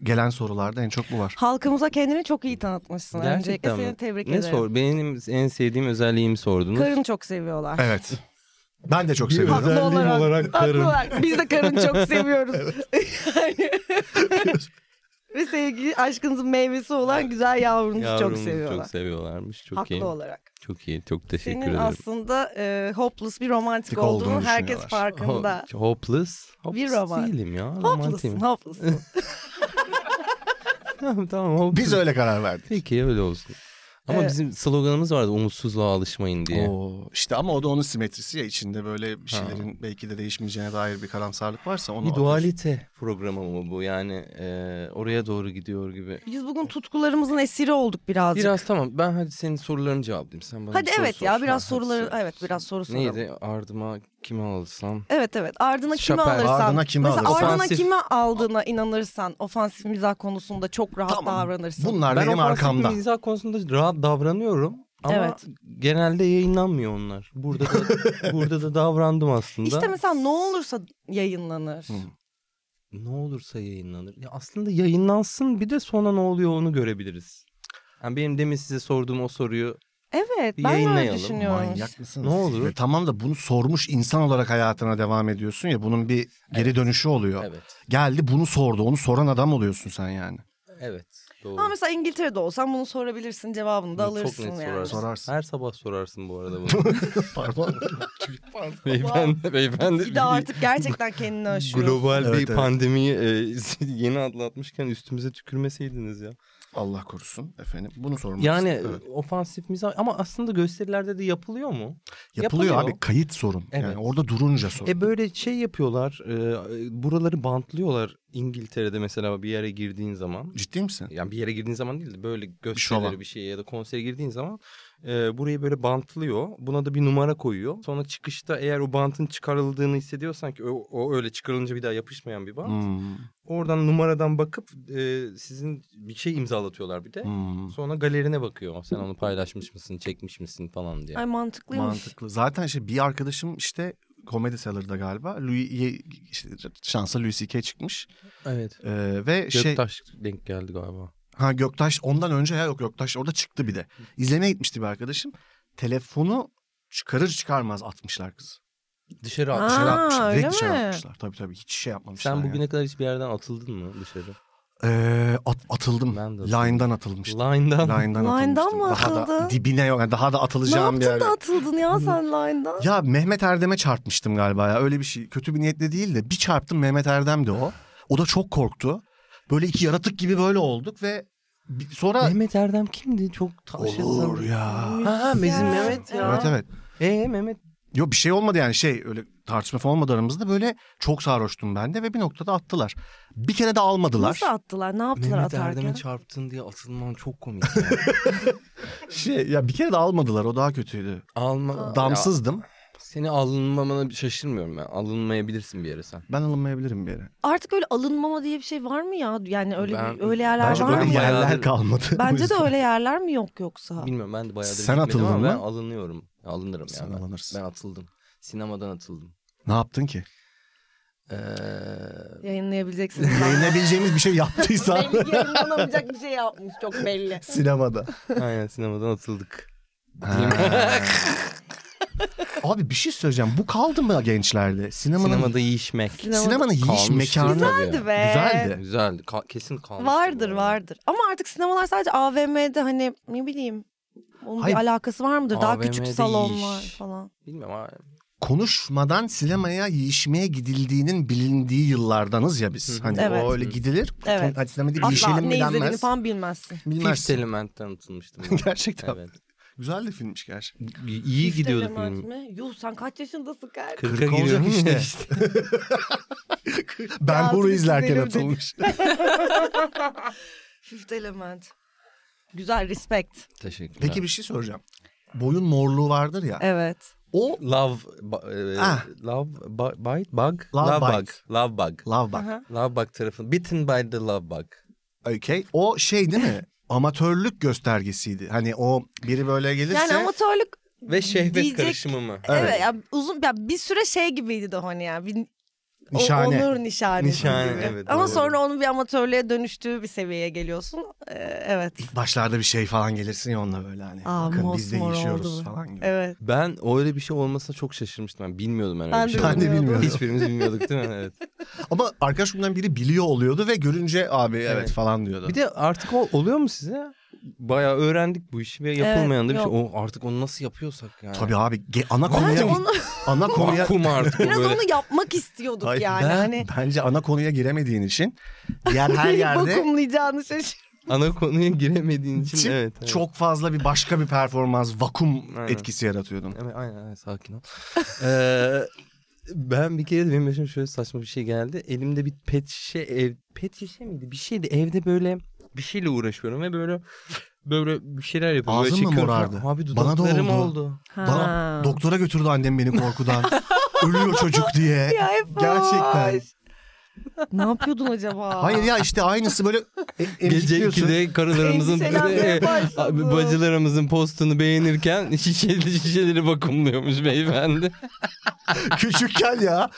S4: Gelen sorularda en çok bu var.
S3: Halkımıza kendini çok iyi tanıtmışsın. Öncelikle
S2: mi?
S3: seni tebrik
S2: ne
S3: ederim.
S2: sor? Benim en sevdiğim özelliğimi sordunuz.
S3: Karını çok seviyorlar.
S4: Evet. Ben de çok seviyorum.
S3: Haklı olarak,
S2: olarak
S3: haklı
S2: karın.
S3: olarak. Biz de karın çok seviyoruz. Yani- (laughs) Ve sevgi aşkınızın meyvesi olan güzel yavrunuzu
S2: Yavrumu
S3: çok seviyorlar.
S2: Çok seviyorlarmış. Çok
S3: haklı
S2: iyi.
S3: olarak.
S2: Çok iyi. Çok teşekkür
S3: Senin
S2: ederim.
S3: aslında e, hopeless bir romantik
S4: Dik
S3: olduğunu,
S4: olduğunu
S3: herkes
S4: düşünüyorlar.
S3: farkında.
S2: Ho- hopeless.
S3: Bir
S2: Hopeless
S3: roman.
S2: değilim ya.
S3: (laughs) Hopeless'ın,
S2: Romantiyim. (laughs)
S3: hopeless'ın.
S2: tamam tamam hopeless.
S4: Biz öyle karar verdik.
S2: Peki öyle olsun. Ama
S3: Evet.
S2: bizim sloganımız vardı umutsuzluğa alışmayın diye.
S4: Oo, işte ama o da onun simetrisi ya içinde böyle bir şeylerin belki de değişmeyeceğine dair bir karamsarlık varsa onu
S2: Bir
S4: atıyorsun.
S2: dualite programı mı bu? Yani e, oraya doğru gidiyor gibi.
S3: Biz bugün tutkularımızın esiri olduk birazcık.
S2: Biraz tamam ben hadi senin sorularını cevaplayayım. Sen bana
S3: Hadi
S2: bir soru
S3: evet
S2: sor.
S3: ya
S2: Ha,
S3: biraz
S2: hadi
S3: soruları
S2: sor.
S3: evet biraz soru soralım.
S2: Neydi ardıma kimi alsam?
S3: Evet evet ardına kimi
S2: Şapel.
S3: alırsan.
S4: Ardına kimi
S3: mesela
S4: alırsan.
S3: ardına
S2: Ofansif.
S3: kimi aldığına inanırsan ofansif mizah konusunda çok rahat
S4: Tamam.
S3: davranırsın.
S4: Bunlar benim
S2: ofansif
S4: arkamda.
S2: mizah konusunda rahat davranıyorum. Ama
S3: Evet.
S2: genelde yayınlanmıyor onlar. Burada da
S4: (laughs)
S2: burada da davrandım aslında.
S3: İşte mesela ne olursa yayınlanır.
S2: Ne olursa yayınlanır. Ya aslında yayınlansın bir de sonra ne oluyor onu görebiliriz. Yani benim demin size sorduğum o soruyu
S3: Evet
S2: Bir
S3: ben de öyle
S2: yayınlayalım.
S3: düşünüyorum.
S4: Manyak mısınız?
S2: Ne olur?
S4: E, tamam da bunu sormuş insan olarak hayatına devam ediyorsun ya bunun bir geri dönüşü oluyor.
S2: evet.
S4: Geldi bunu sordu onu soran adam oluyorsun
S2: (laughs)
S4: sen yani.
S2: Evet. Doğru.
S3: Ama mesela İngiltere'de olsan bunu sorabilirsin cevabını da
S2: Bunu
S3: alırsın
S2: çok net
S3: yani.
S2: sorarsın.
S4: Sorarsın.
S2: Her sabah sorarsın bu arada
S4: (laughs)
S2: bunu.
S4: Pardon.
S2: beyefendi, beyefendi.
S3: Bir de artık gerçekten kendini aşıyor.
S2: Global
S4: Evet,
S2: bir
S4: evet.
S2: pandemiyi e, (laughs) yeni atlatmışken üstümüze tükürmeseydiniz ya.
S4: Allah korusun efendim bunu sormak
S2: Yani
S4: istedim. Evet.
S2: ofansif mizah ama aslında gösterilerde de yapılıyor mu?
S4: yapılıyor,
S2: yapılıyor.
S4: abi kayıt sorun.
S2: Evet.
S4: Yani orada durunca sorun.
S2: E böyle şey yapıyorlar. e, buraları bantlıyorlar İngiltere'de mesela bir yere girdiğin zaman.
S4: Ciddi misin?
S2: Yani bir yere girdiğin zaman değil de böyle
S4: şova.
S2: gösterilere bir şeye ya da konsere girdiğin zaman e, burayı böyle bantlıyor. Buna da bir numara koyuyor. Sonra çıkışta eğer o bantın çıkarıldığını hissediyorsan ki o, o öyle çıkarılınca bir daha yapışmayan bir bant.
S4: Hmm,
S2: Oradan numaradan bakıp e, sizin bir şey imzalatıyorlar bir de.
S4: hmm.
S2: Sonra galerine bakıyor. Sen onu paylaşmış mısın, çekmiş misin falan diye.
S3: Ay mantıklıymış.
S4: Mantıklı. Zaten şey bir arkadaşım işte Comedy Cellar'da galiba Louis işte şansa Louis C.K. çıkmış.
S2: Evet.
S4: Ee, ve şey
S2: Göktaş denk geldi galiba.
S4: ha Göktaş ondan önce ya yok Göktaş orada çıktı bir de. İzlemeye gitmişti bir arkadaşım. Telefonu çıkarır çıkarmaz atmışlar kızı.
S2: Dışarı
S3: Ha,
S2: atmış.
S4: Dışarı atmışlar.
S3: öyle
S4: Direkt dışarı
S3: mi?
S4: atmışlar. Tabii tabii hiç şey yapmamışlar.
S2: Sen
S4: yani.
S2: bugüne kadar hiçbir yerden atıldın mı dışarı?
S4: Ee, at- atıldım.
S2: Ben de atıldım.
S4: Line'dan atılmıştım.
S2: Line'dan.
S4: Line'dan,
S3: Line'dan
S4: atılmıştım.
S3: mı
S4: Daha da
S3: atıldın?
S4: dibine yok. yani daha da
S3: Ne
S4: atılacağım bir
S3: yaptın
S4: yer.
S3: da atıldın ya sen line'dan?
S4: Ya Mehmet Erdem'e çarpmıştım galiba ya öyle bir şey. Kötü bir niyetle değil de bir çarptım Mehmet Erdem'di o. O da çok korktu. Böyle iki yaratık gibi böyle olduk ve bi- sonra... şey
S2: Mehmet Erdem kimdi? Çok tavşan.
S1: Olur ya.
S2: Ha Mezin Mehmet ya.
S4: Evet evet.
S2: Ee Mehmet.
S4: Yok bir şey olmadı yani şey öyle tartışma falan olmadı aramızda böyle çok sarhoştum ben de ve bir noktada attılar. Bir kere de almadılar.
S3: Nasıl attılar? Ne yaptılar
S2: Mehmet
S3: atarken?
S2: Erdem'e çarptın diye atılman çok komik. ya.
S4: Şey ya bir kere de almadılar o daha kötüydü.
S2: (laughs) Alma. Ya,
S4: Damsızdım.
S2: seni alınmamana şaşırmıyorum ben. Alınmayabilirsin bir yere sen.
S4: Ben alınmayabilirim bir yere.
S3: Artık öyle alınmama diye bir şey var mı ya? Yani öyle
S2: Ben-
S3: bir- öyle yerler
S4: Bence
S2: Bence
S3: var
S4: böyle
S2: ben
S3: mı?
S2: bayağı-
S4: yerler kalmadı. O
S3: Bence de
S4: yüzden
S3: öyle yerler mi yok yoksa?
S2: Bilmiyorum ben de bayağıdır
S4: Sen
S2: gitmedim
S4: atıldın
S2: ama ben
S4: mı?
S2: alınıyorum. Alınırım
S4: Sen
S2: ya ben.
S4: alınırsın.
S2: Ben atıldım. Sinemadan atıldım.
S4: Ne yaptın ki?
S2: Ee,
S3: Yayınlayabileceksiniz.
S4: Yayınlayabileceğimiz bir
S3: (laughs)
S4: şey yaptıysan
S3: Belli yayınlanamayacak bir şey yapmış çok belli.
S4: sinemada.
S2: aynen sinemadan atıldık.
S4: Abi bir şey söyleyeceğim. Bu kaldı mı gençlerde? Sinemanın,
S2: Sinemada yiyişmek.
S3: Sinema-
S4: sinemanın yiyiş
S2: Kalmıştır
S4: mekanı.
S2: tabii.
S3: Güzeldi be.
S4: Güzeldi.
S2: Güzeldi. Ka- kesin kalmıştır.
S3: Vardır
S2: bu arada.
S3: vardır. Ama artık sinemalar sadece AVM'de hani ne bileyim onun
S4: Hayır.
S3: bir alakası var mıdır? Daha küçük
S2: AVM'de
S3: salonlar
S2: iş.
S3: falan.
S2: Bilmiyorum abi.
S4: Konuşmadan sinemaya yiyişmeye gidildiğinin bilindiği yıllardanız ya
S2: Hı
S4: biz.
S2: hı.
S4: Hani
S3: Evet.
S4: o öyle gidilir.
S3: Evet.
S4: Hadi sinemada bir
S3: Asla
S4: yiyişelim
S3: ne
S4: mi
S3: izlediğini
S4: denmez.
S3: falan bilmezsin.
S2: Fifth
S4: Bilmezsin.
S2: Element'ten atılmıştım. ben.
S4: Gerçekten.
S2: Evet.
S4: Güzel de filmmiş gerçekten.
S2: İyi gidiyordu
S3: Fifth Element
S2: film.
S3: mi? Yuh sen kaç yaşındasın kardeşim?
S2: 40'a
S4: Kırk olacak
S2: giriyorum
S4: işte.
S2: işte.
S4: (laughs) Ben
S3: Altını
S4: bunu izlerken
S3: çizelim dedi.
S4: atılmış.
S3: Fifth Element. Güzel respect.
S2: Teşekkürler.
S4: Peki bir şey soracağım. Boyun morluğu vardır ya.
S3: Evet.
S4: O
S2: Love, ba- e,
S4: Ah.
S2: love ba- bite, bug,
S4: Love bite.
S2: bug, love bug,
S4: Love Bug.
S3: Aha.
S2: love bug tarafın bitten by the love bug.
S4: Okay. O şey değil
S3: (laughs)
S4: mi? Amatörlük göstergesiydi. Hani o biri böyle gelirse
S3: Yani amatörlük
S2: Ve şehvet
S3: Diyecek-
S2: karışımı mı?
S3: evet, ya uzun ya bir süre şey gibiydi de hani ya. Bir, o-
S4: nişane.
S3: onur nişanesi
S2: Nişane,
S3: gibi.
S2: evet,
S3: Ama
S2: doğru.
S3: sonra onun bir amatörlüğe dönüştüğü bir seviyeye geliyorsun. Ee, evet.
S4: İlk başlarda bir şey falan gelirsin ya onunla böyle hani.
S3: Aa,
S4: bakın biz de
S3: mosmor
S4: yaşıyoruz
S3: oldu bu.
S4: falan gibi.
S3: Evet.
S2: Ben öyle bir şey olmasına çok şaşırmıştım. Ben bilmiyordum ben öyle
S3: Ben
S2: bir
S3: de
S2: şey.
S4: Ben de
S3: bilmiyordum.
S4: bilmiyorum.
S2: Hiçbirimiz bilmiyorduk değil mi? Evet.
S4: Ama arkadaşımdan biri biliyor oluyordu ve görünce abi evet,
S2: Evet.
S4: falan diyordu.
S2: Bir de artık o oluyor mu size? Bayağı öğrendik bu işi ve yapılmayan da bir
S3: Evet,
S2: şey. O, artık onu nasıl yapıyorsak yani.
S4: Tabii abi ge- ana
S3: Bence
S4: konuya
S3: onu,
S4: ana konuya
S2: Vakum artık o
S3: biraz
S2: böyle.
S3: onu yapmak istiyorduk
S4: Hayır,
S3: (laughs) yani.
S4: ben-
S3: hani
S4: bence ana konuya giremediğin için diğer her
S3: neyi
S4: yerde
S3: vakumlayacağını şaşır.
S2: Ana konuya giremediğin için
S4: Çip
S2: evet. evet.
S4: çok fazla bir başka bir performans vakum
S2: Aynen.
S4: etkisi yaratıyordum.
S2: Evet, aynen, aynen, sakin ol. (laughs) Ee, ben bir kere de benim başıma şöyle saçma bir şey geldi. Elimde bir pet şişe ev pet şişe miydi? Bir şeydi. Evde böyle bir şeyle uğraşıyorum ve böyle böyle bir şeyler yapıyorum. Böyle
S4: Ağzın mı
S2: çekiyorum falan.
S4: morardı?
S2: Abi
S4: Bana da
S2: dudaklarım
S4: oldu.
S2: oldu. oldu.
S4: Bana doktora götürdü annem beni korkudan. Ölüyor çocuk (laughs) diye.
S3: Ya hep
S4: Gerçekten.
S3: boş. ne yapıyordun acaba?
S4: Hayır ya işte aynısı böyle e-
S2: Gece
S4: emcikliyorsun.
S2: 2'de karılarımızın (laughs)
S3: Endişelenmeye başladım.
S2: bacılarımızın postunu beğenirken (laughs) şişeli şişeleri vakumluyormuş beyefendi.
S4: (laughs) Küçükken ya.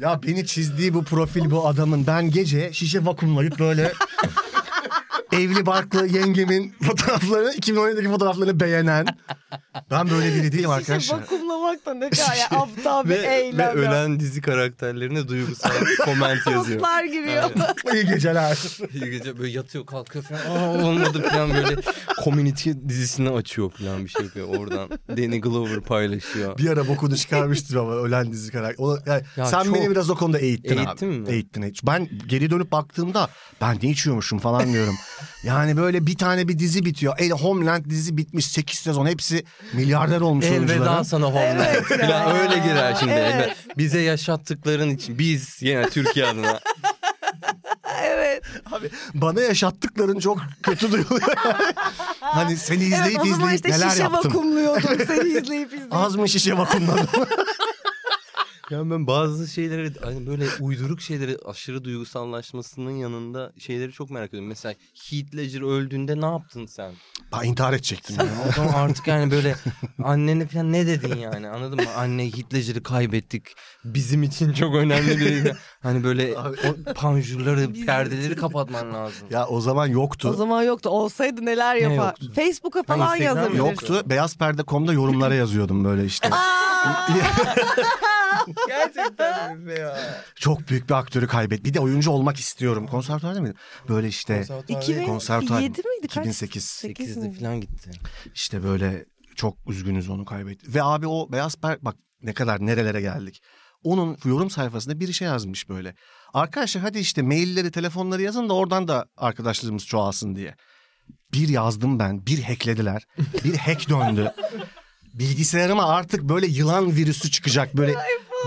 S4: Ya beni çizdiği bu profil bu adamın. Ben gece şişe vakumlayıp böyle evli barklı yengemin fotoğraflarını 2017'deki fotoğraflarını beğenen. Ben böyle biri değilim
S3: Şişe
S4: arkadaşlar.
S2: (laughs)
S3: vakumlamak da ne kadar ya, aptal bir
S2: Şey, ve,
S3: eylem.
S2: ve
S3: ya.
S2: ölen dizi karakterlerine duygusal (laughs) koment yazıyor.
S3: Postlar giriyor.
S4: İyi geceler.
S2: Bir gece böyle yatıyor kalkıyor falan. Aa olmadı falan böyle. Community dizisini açıyor falan bir şey yapıyor oradan. Danny Glover paylaşıyor.
S4: Bir ara bokunu çıkarmıştım ama ölen dizi karakter. O- yani
S2: Ya
S4: sen
S2: çok-
S4: beni biraz o konuda eğittin abi.
S2: Eğittim mi?
S4: Eğittin eğittin. Ben geri dönüp baktığımda ben ne içiyormuşum falan diyorum. yani böyle bir tane bir dizi bitiyor. El Homeland dizi bitmiş 8 sezon hepsi milyarder olmuş
S2: Elveda
S4: oyuncuların.
S2: sana Homeland.
S3: Evet ya.
S2: falan öyle girer şimdi.
S3: Evet.
S2: Elveda. Bize yaşattıkların için biz yine Türkiye adına.
S3: (laughs) evet.
S4: Bana yaşattıkların çok kötü duyuluyor. hani seni izleyip
S3: evet o zaman
S4: izleyip
S3: işte
S4: neler
S3: şişe
S4: yaptım.
S2: (laughs)
S3: vakumluyordum seni izleyip izleyip.
S4: Az mı şişe vakumladım?
S2: Yani ben bazı şeyleri hani böyle uyduruk şeyleri aşırı duygusallaşmasının yanında şeyleri çok merak ediyorum. Mesela Heath Ledger öldüğünde ne yaptın sen?
S4: (laughs) ben intihar edecektim. ya.
S2: O zaman artık yani böyle annene falan ne dedin yani anladın mı? Anne Hitler'i kaybettik. Bizim için çok önemli bir hani böyle o panjurları, perdeleri kapatman lazım.
S4: Ya o zaman yoktu.
S3: O zaman yoktu. Olsaydı neler
S2: Ne
S3: yapar.
S2: yoktu?
S3: Facebook'a falan
S2: Instagram
S3: yazabilirsin.
S4: Yoktu.
S3: (laughs)
S4: Beyazperde.com'da yorumlara yazıyordum böyle işte.
S2: Gerçekten mi ya?
S4: Çok büyük bir aktörü kaybet. Bir de oyuncu olmak istiyorum. Konservatuvarda mıydı? Böyle işte konservatuar
S3: 2007 miydi? Kaç?
S4: 2008.
S3: 8
S2: 8'de
S3: miydi? (laughs)
S2: falan gitti.
S4: işte böyle çok üzgünüz onu kaybettik. Ve abi o beyaz per bak ne kadar nerelere geldik. Onun yorum sayfasında biri şey yazmış böyle. Arkadaşlar hadi işte mailleri, telefonları yazın da oradan da arkadaşlarımız çoğalsın diye. Bir yazdım ben, bir hacklediler. Bir hack döndü. Bilgisayarıma artık böyle yılan virüsü çıkacak. Böyle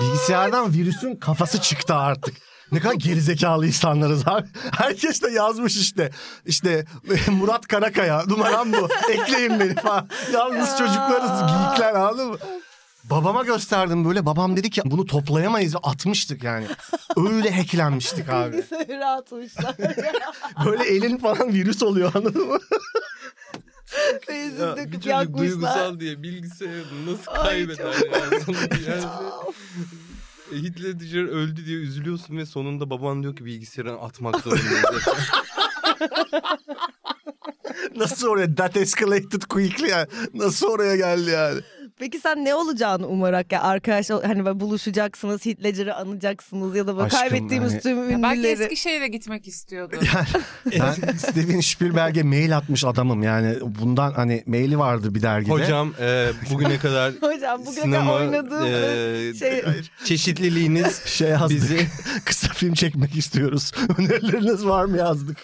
S4: bilgisayardan virüsün kafası çıktı artık. Ne kadar gerizekalı insanlarız abi. Herkes de yazmış işte. İşte (laughs) Murat Karakaya numaram bu. Ekleyin beni falan. Yalnız çocuklarız geyikler anladın mı? Babama gösterdim böyle. Babam dedi ki bunu toplayamayız. Atmıştık yani. Öyle hacklenmiştik abi.
S2: (laughs)
S3: Bilgisayarı atmışlar.
S4: Böyle elin falan virüs oluyor anladın mı?
S3: Benzin
S2: Ya, bir
S3: döküp
S2: çocuk
S3: yakmışlar.
S2: duygusal diye bilgisayarını nasıl
S3: Ay,
S2: kaybeder
S3: çok-
S2: ya? Sonunda
S3: (laughs)
S2: yani. Hitler Dijör öldü diye üzülüyorsun ve sonunda baban diyor ki bilgisayarı atmak
S3: (laughs)
S2: zorundayız.
S4: Nasıl oraya that escalated quickly yani. Nasıl oraya geldi yani.
S3: Peki sen ne olacağını umarak ya arkadaş hani böyle buluşacaksınız, Hitler'i anacaksınız ya da böyle
S4: Aşkım,
S3: kaybettiğimiz
S4: hani-
S3: tüm
S5: Ya Belki
S3: ünlüleri.
S5: Eskişehir'e
S2: (laughs)
S5: gitmek istiyordu.
S4: Ben Steven Spielberg'e mail atmış adamım yani. Bundan hani maili vardı bir dergide.
S2: Hocam e, bugüne kadar
S3: (laughs) Hocam bugüne
S2: sinema
S3: kadar oynadığım
S2: e,
S3: şey
S2: çeşitliliğiniz
S3: (laughs)
S4: şey yazdık.
S2: bizi...
S4: (laughs) Kısa film çekmek istiyoruz. (laughs) Önerileriniz var mı yazdık.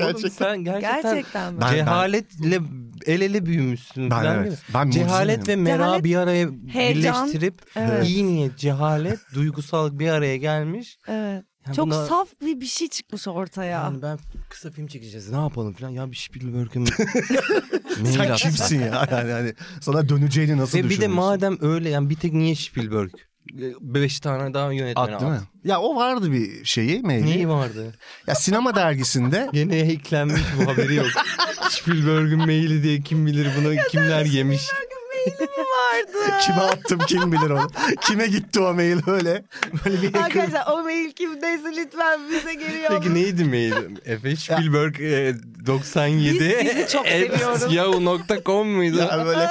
S2: Oğlum sen gerçekten
S3: gerçekten mi?
S4: Ben-
S2: cehaletle el ele büyümüşsün.
S4: Ben
S2: falan
S4: evet.
S2: değil mi?
S4: Ben
S2: Cehalet ve
S4: mucizenim.
S2: mera
S3: Cehalet,
S2: bir araya
S3: heyecan,
S2: birleştirip
S3: evet.
S2: iyi niyet, cehalet, duygusallık bir araya gelmiş.
S3: Evet.
S2: Yani
S3: Çok
S2: buna-
S3: saf bir bir şey çıkmış ortaya.
S2: Yani ben kısa film çekeceğiz ne yapalım falan. Ya bir Spielberg'e (laughs) mi? Mail
S4: Sen
S2: atmış.
S4: kimsin ya? (laughs) Yani, hani sana döneceğini nasıl
S2: Ve bir de
S4: düşünüyorsun?
S2: madem öyle yani bir tek niye Spielberg? E, Beş tane daha yönetmen
S4: At değil mi? Ya o vardı bir şeyi maili.
S2: Neyi (laughs) vardı?
S4: Ya
S2: (laughs)
S4: sinema dergisinde
S2: Gene hacklenmiş bu haberi (laughs) yok. Spielberg'ün maili diye kim bilir bunu kimler yemiş.
S4: kime attım kim bilir onu. Kime gitti o mail öyle. Böyle bir hacker.
S3: (laughs) Arkadaşlar o mail kimdeyse lütfen bize geri
S2: Peki
S3: yollayın.
S2: neydi (laughs) maili? Efe Spielberg e, 97
S3: Biz sizi çok seviyoruz.
S2: yahoo.com muydu? (laughs)
S4: Yani böyle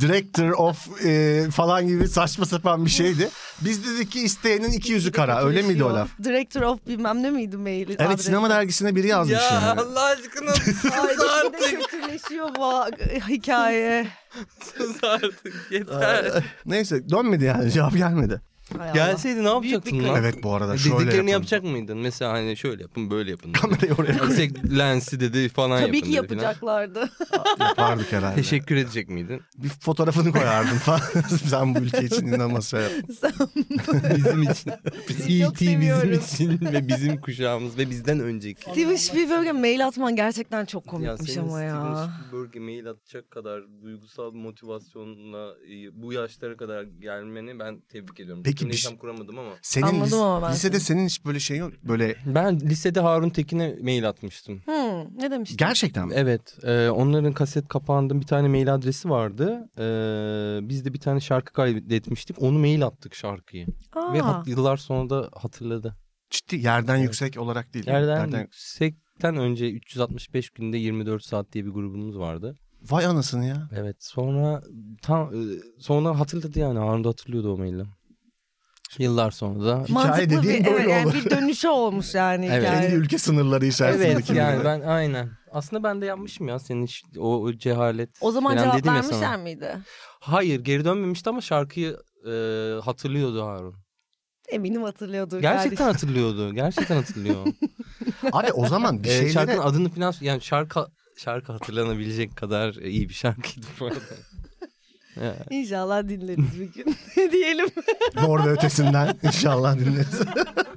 S4: director of e, falan gibi saçma sapan bir şeydi. Biz dedik ki isteyenin iki yüzü kara. Öyle
S2: şey
S4: miydi o laf?
S3: Director of bilmem ne miydi maili?
S4: Evet sinema dergisine biri yazmış yani.
S2: Allah aşkına sus
S3: artık. kötüleşiyor bu hikaye.
S2: sus artık yeter.
S4: Neyse dönmedi yani cevap gelmedi.
S3: Hay Allah.
S2: Gelseydi ne yapacaktın lan?
S4: Evet bu arada şöyle
S2: E, Dediklerini
S4: yapalım.
S2: yapacak mıydın? Mesela hani şöyle yapın böyle yapın.
S4: Kamerayı oraya koy-
S2: (laughs) Yüksek lensi dedi falan
S3: Tabii
S2: yapın
S3: ki
S2: dedi falan.
S3: yapacaklardı. (laughs)
S4: yapardık herhalde.
S2: Teşekkür edecek miydin?
S4: Bir fotoğrafını koyardım falan. (laughs) Sen bu ülke için inanılmaz şey yaptın.
S2: Bizim için.
S3: çok
S2: E.T. E bizim
S3: seviyoruz.
S2: için ve bizim kuşağımız ve bizden önceki.
S3: Steven Spielberg'e mail atman gerçekten çok
S2: Ya
S3: komikmiş
S2: senin
S3: ama
S2: Steven
S3: ya.
S2: Spielberg'e mail atacak kadar duygusal motivasyonla e, bu yaşlara kadar gelmeni ben tebrik ediyorum.
S4: Peki
S2: Cümleyi
S4: bir şey-
S2: tam kuramadım ama.
S4: Senin
S3: Anladım
S4: lis-
S3: ama ben seni.
S4: lisede senin hiç böyle şey yok. Böyle
S2: Ben lisede Harun Tekin'e mail atmıştım.
S3: Hmm, ne demiştin?
S4: gerçekten mi?
S2: Evet. e, onların kaset kapağında bir tane mail adresi vardı. E, biz de bir tane şarkı kaydetmiştik. Onu mail attık şarkıyı.
S3: Aa,
S2: Ve hat- yıllar sonra da hatırladı.
S4: Ciddi yerden yüksek olarak değil.
S2: Yerden yüksekten önce 365 günde 24 saat diye bir grubumuz vardı.
S4: Vay anasını ya.
S2: Evet sonra tam e, sonra hatırladı yani anında hatırlıyordu o maili. Yıllar sonra da.
S4: Hikaye
S3: mantıklı bir,
S4: dediğin böyle
S3: evet, yani
S4: olur.
S3: bir dönüşü olmuş yani
S2: Evet.
S3: hikaye.
S4: Kendi ülke sınırları içerisindeki.
S2: Evet
S4: biri.
S2: yani ben aynen. Aslında ben de yapmışım ya senin iş- o, o cehalet.
S3: O zaman
S2: falan
S3: cevap
S2: dedim ya sana.
S3: vermişler miydi?
S2: Hayır geri dönmemişti ama şarkıyı e, hatırlıyordu Harun.
S3: Eminim hatırlıyordur.
S2: Gerçekten
S3: kardeşim.
S2: hatırlıyordu. Gerçekten (laughs) hatırlıyor.
S4: Abi o zaman bir
S2: E,
S4: şeylere... (laughs)
S2: Şarkının adını falan yani şarkı şarkı hatırlanabilecek kadar e, iyi bir şarkıydı bu arada. Ya.
S3: İnşallah dinleriz bir gün. (laughs) Ne diyelim?
S4: Bu arada ötesinden inşallah dinleriz.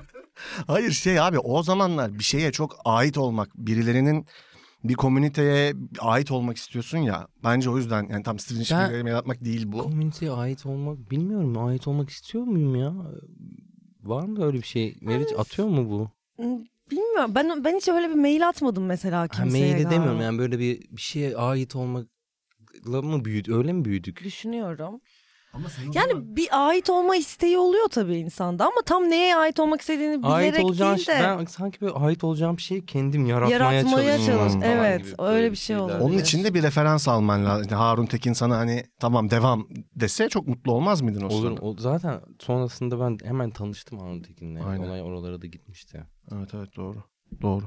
S4: (laughs) Hayır şey abi o zamanlar bir şeye çok ait olmak birilerinin bir komüniteye ait olmak istiyorsun ya. Bence o yüzden yani tam Steven Spielberg'e mail atmak değil
S2: (laughs)
S4: bu.
S2: Komüniteye ait olmak bilmiyorum ait olmak istiyor muyum ya? Var mı öyle bir şey? Meriç atıyor mu bu?
S3: Hmm, Bilmiyorum. Ben ben hiç öyle bir mail atmadım mesela
S2: Ha,
S3: kimseye.
S2: mail
S3: galiba.
S2: demiyorum yani böyle bir bir şeye ait olmakla mı büyüdük? Öyle mi büyüdük?
S3: Düşünüyorum. yani bir ait olma isteği oluyor tabii insanda ama tam neye ait olmak istediğini bilerek
S2: ait olacağım
S3: değil de.
S2: ben sanki böyle ait olacağım şeyi kendim yaratmaya,
S3: Yaratmaya
S2: çalışıyorum
S3: çalış-
S2: falan
S3: evet,
S2: gibi
S3: öyle
S2: böyle
S3: bir şey
S2: şeyler.
S3: olur.
S4: Onun
S3: Evet.
S4: için de bir referans alman lazım. İşte Harun Tekin sana hani tamam devam dese çok mutlu olmaz mıydın o
S2: Olur.
S4: sırada?
S2: O, zaten sonrasında ben hemen tanıştım Harun Tekin'le.
S4: Aynen.
S2: Olay oralara da gitmişti.
S4: Evet evet doğru. Doğru.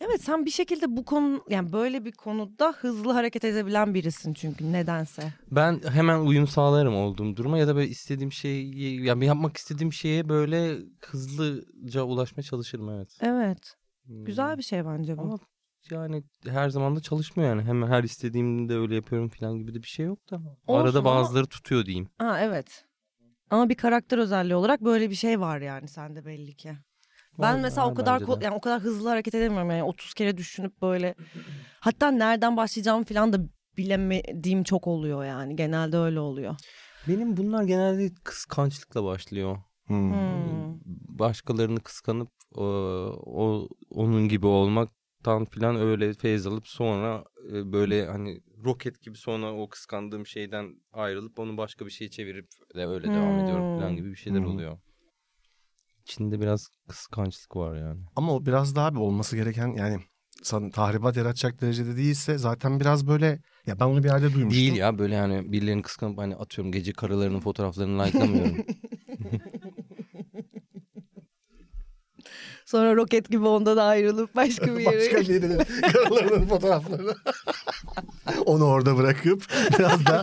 S3: Evet sen bir şekilde bu konu yani böyle bir konuda hızlı hareket edebilen birisin çünkü nedense.
S2: Ben hemen uyum sağlarım olduğum duruma ya da böyle istediğim şeyi yani yapmak istediğim şeye böyle hızlıca ulaşmaya çalışırım evet.
S3: Evet.
S2: Hmm.
S3: Güzel bir şey bence bu.
S2: Ama yani her zaman da çalışmıyor yani. Hemen her istediğimde öyle yapıyorum falan gibi de bir şey yok da. Arada
S3: ama-
S2: bazıları tutuyor diyeyim.
S3: Ha evet. Ama bir karakter özelliği olarak böyle bir şey var yani sende belli ki. Ben
S2: Var-
S3: mesela o
S2: var
S3: kadar
S2: bence de.
S3: ko- yani o kadar hızlı hareket edemiyorum yani 30 kere düşünüp böyle hatta nereden başlayacağımı falan da bilemediğim çok oluyor yani genelde öyle oluyor.
S2: Benim bunlar genelde kıskançlıkla başlıyor.
S4: Hmm.
S3: Hmm.
S2: Hani Başkalarını kıskanıp e, o onun gibi olmaktan filan öyle feyz alıp sonra e, böyle hani roket gibi sonra o kıskandığım şeyden ayrılıp onu başka bir şeye çevirip de öyle devam ediyorum falan
S3: Hmm.
S2: gibi bir şeyler
S4: Hı hı.
S2: oluyor. İçinde biraz kıskançlık var yani.
S4: Ama o biraz daha bir olması gereken yani san- tahribat yaratacak derecede değilse zaten biraz böyle ya ben onu bir yerde duymuştum.
S2: Değil ya böyle hani birilerini kıskanıp hani atıyorum gece karılarının
S4: (laughs)
S2: fotoğraflarını like'lamıyorum.
S3: Sonra roket gibi ondan ayrılıp
S4: (laughs)
S3: başka bir
S4: Başka
S3: yere.
S4: birinin karılarının fotoğraflarını. (laughs) Onu orada bırakıp biraz da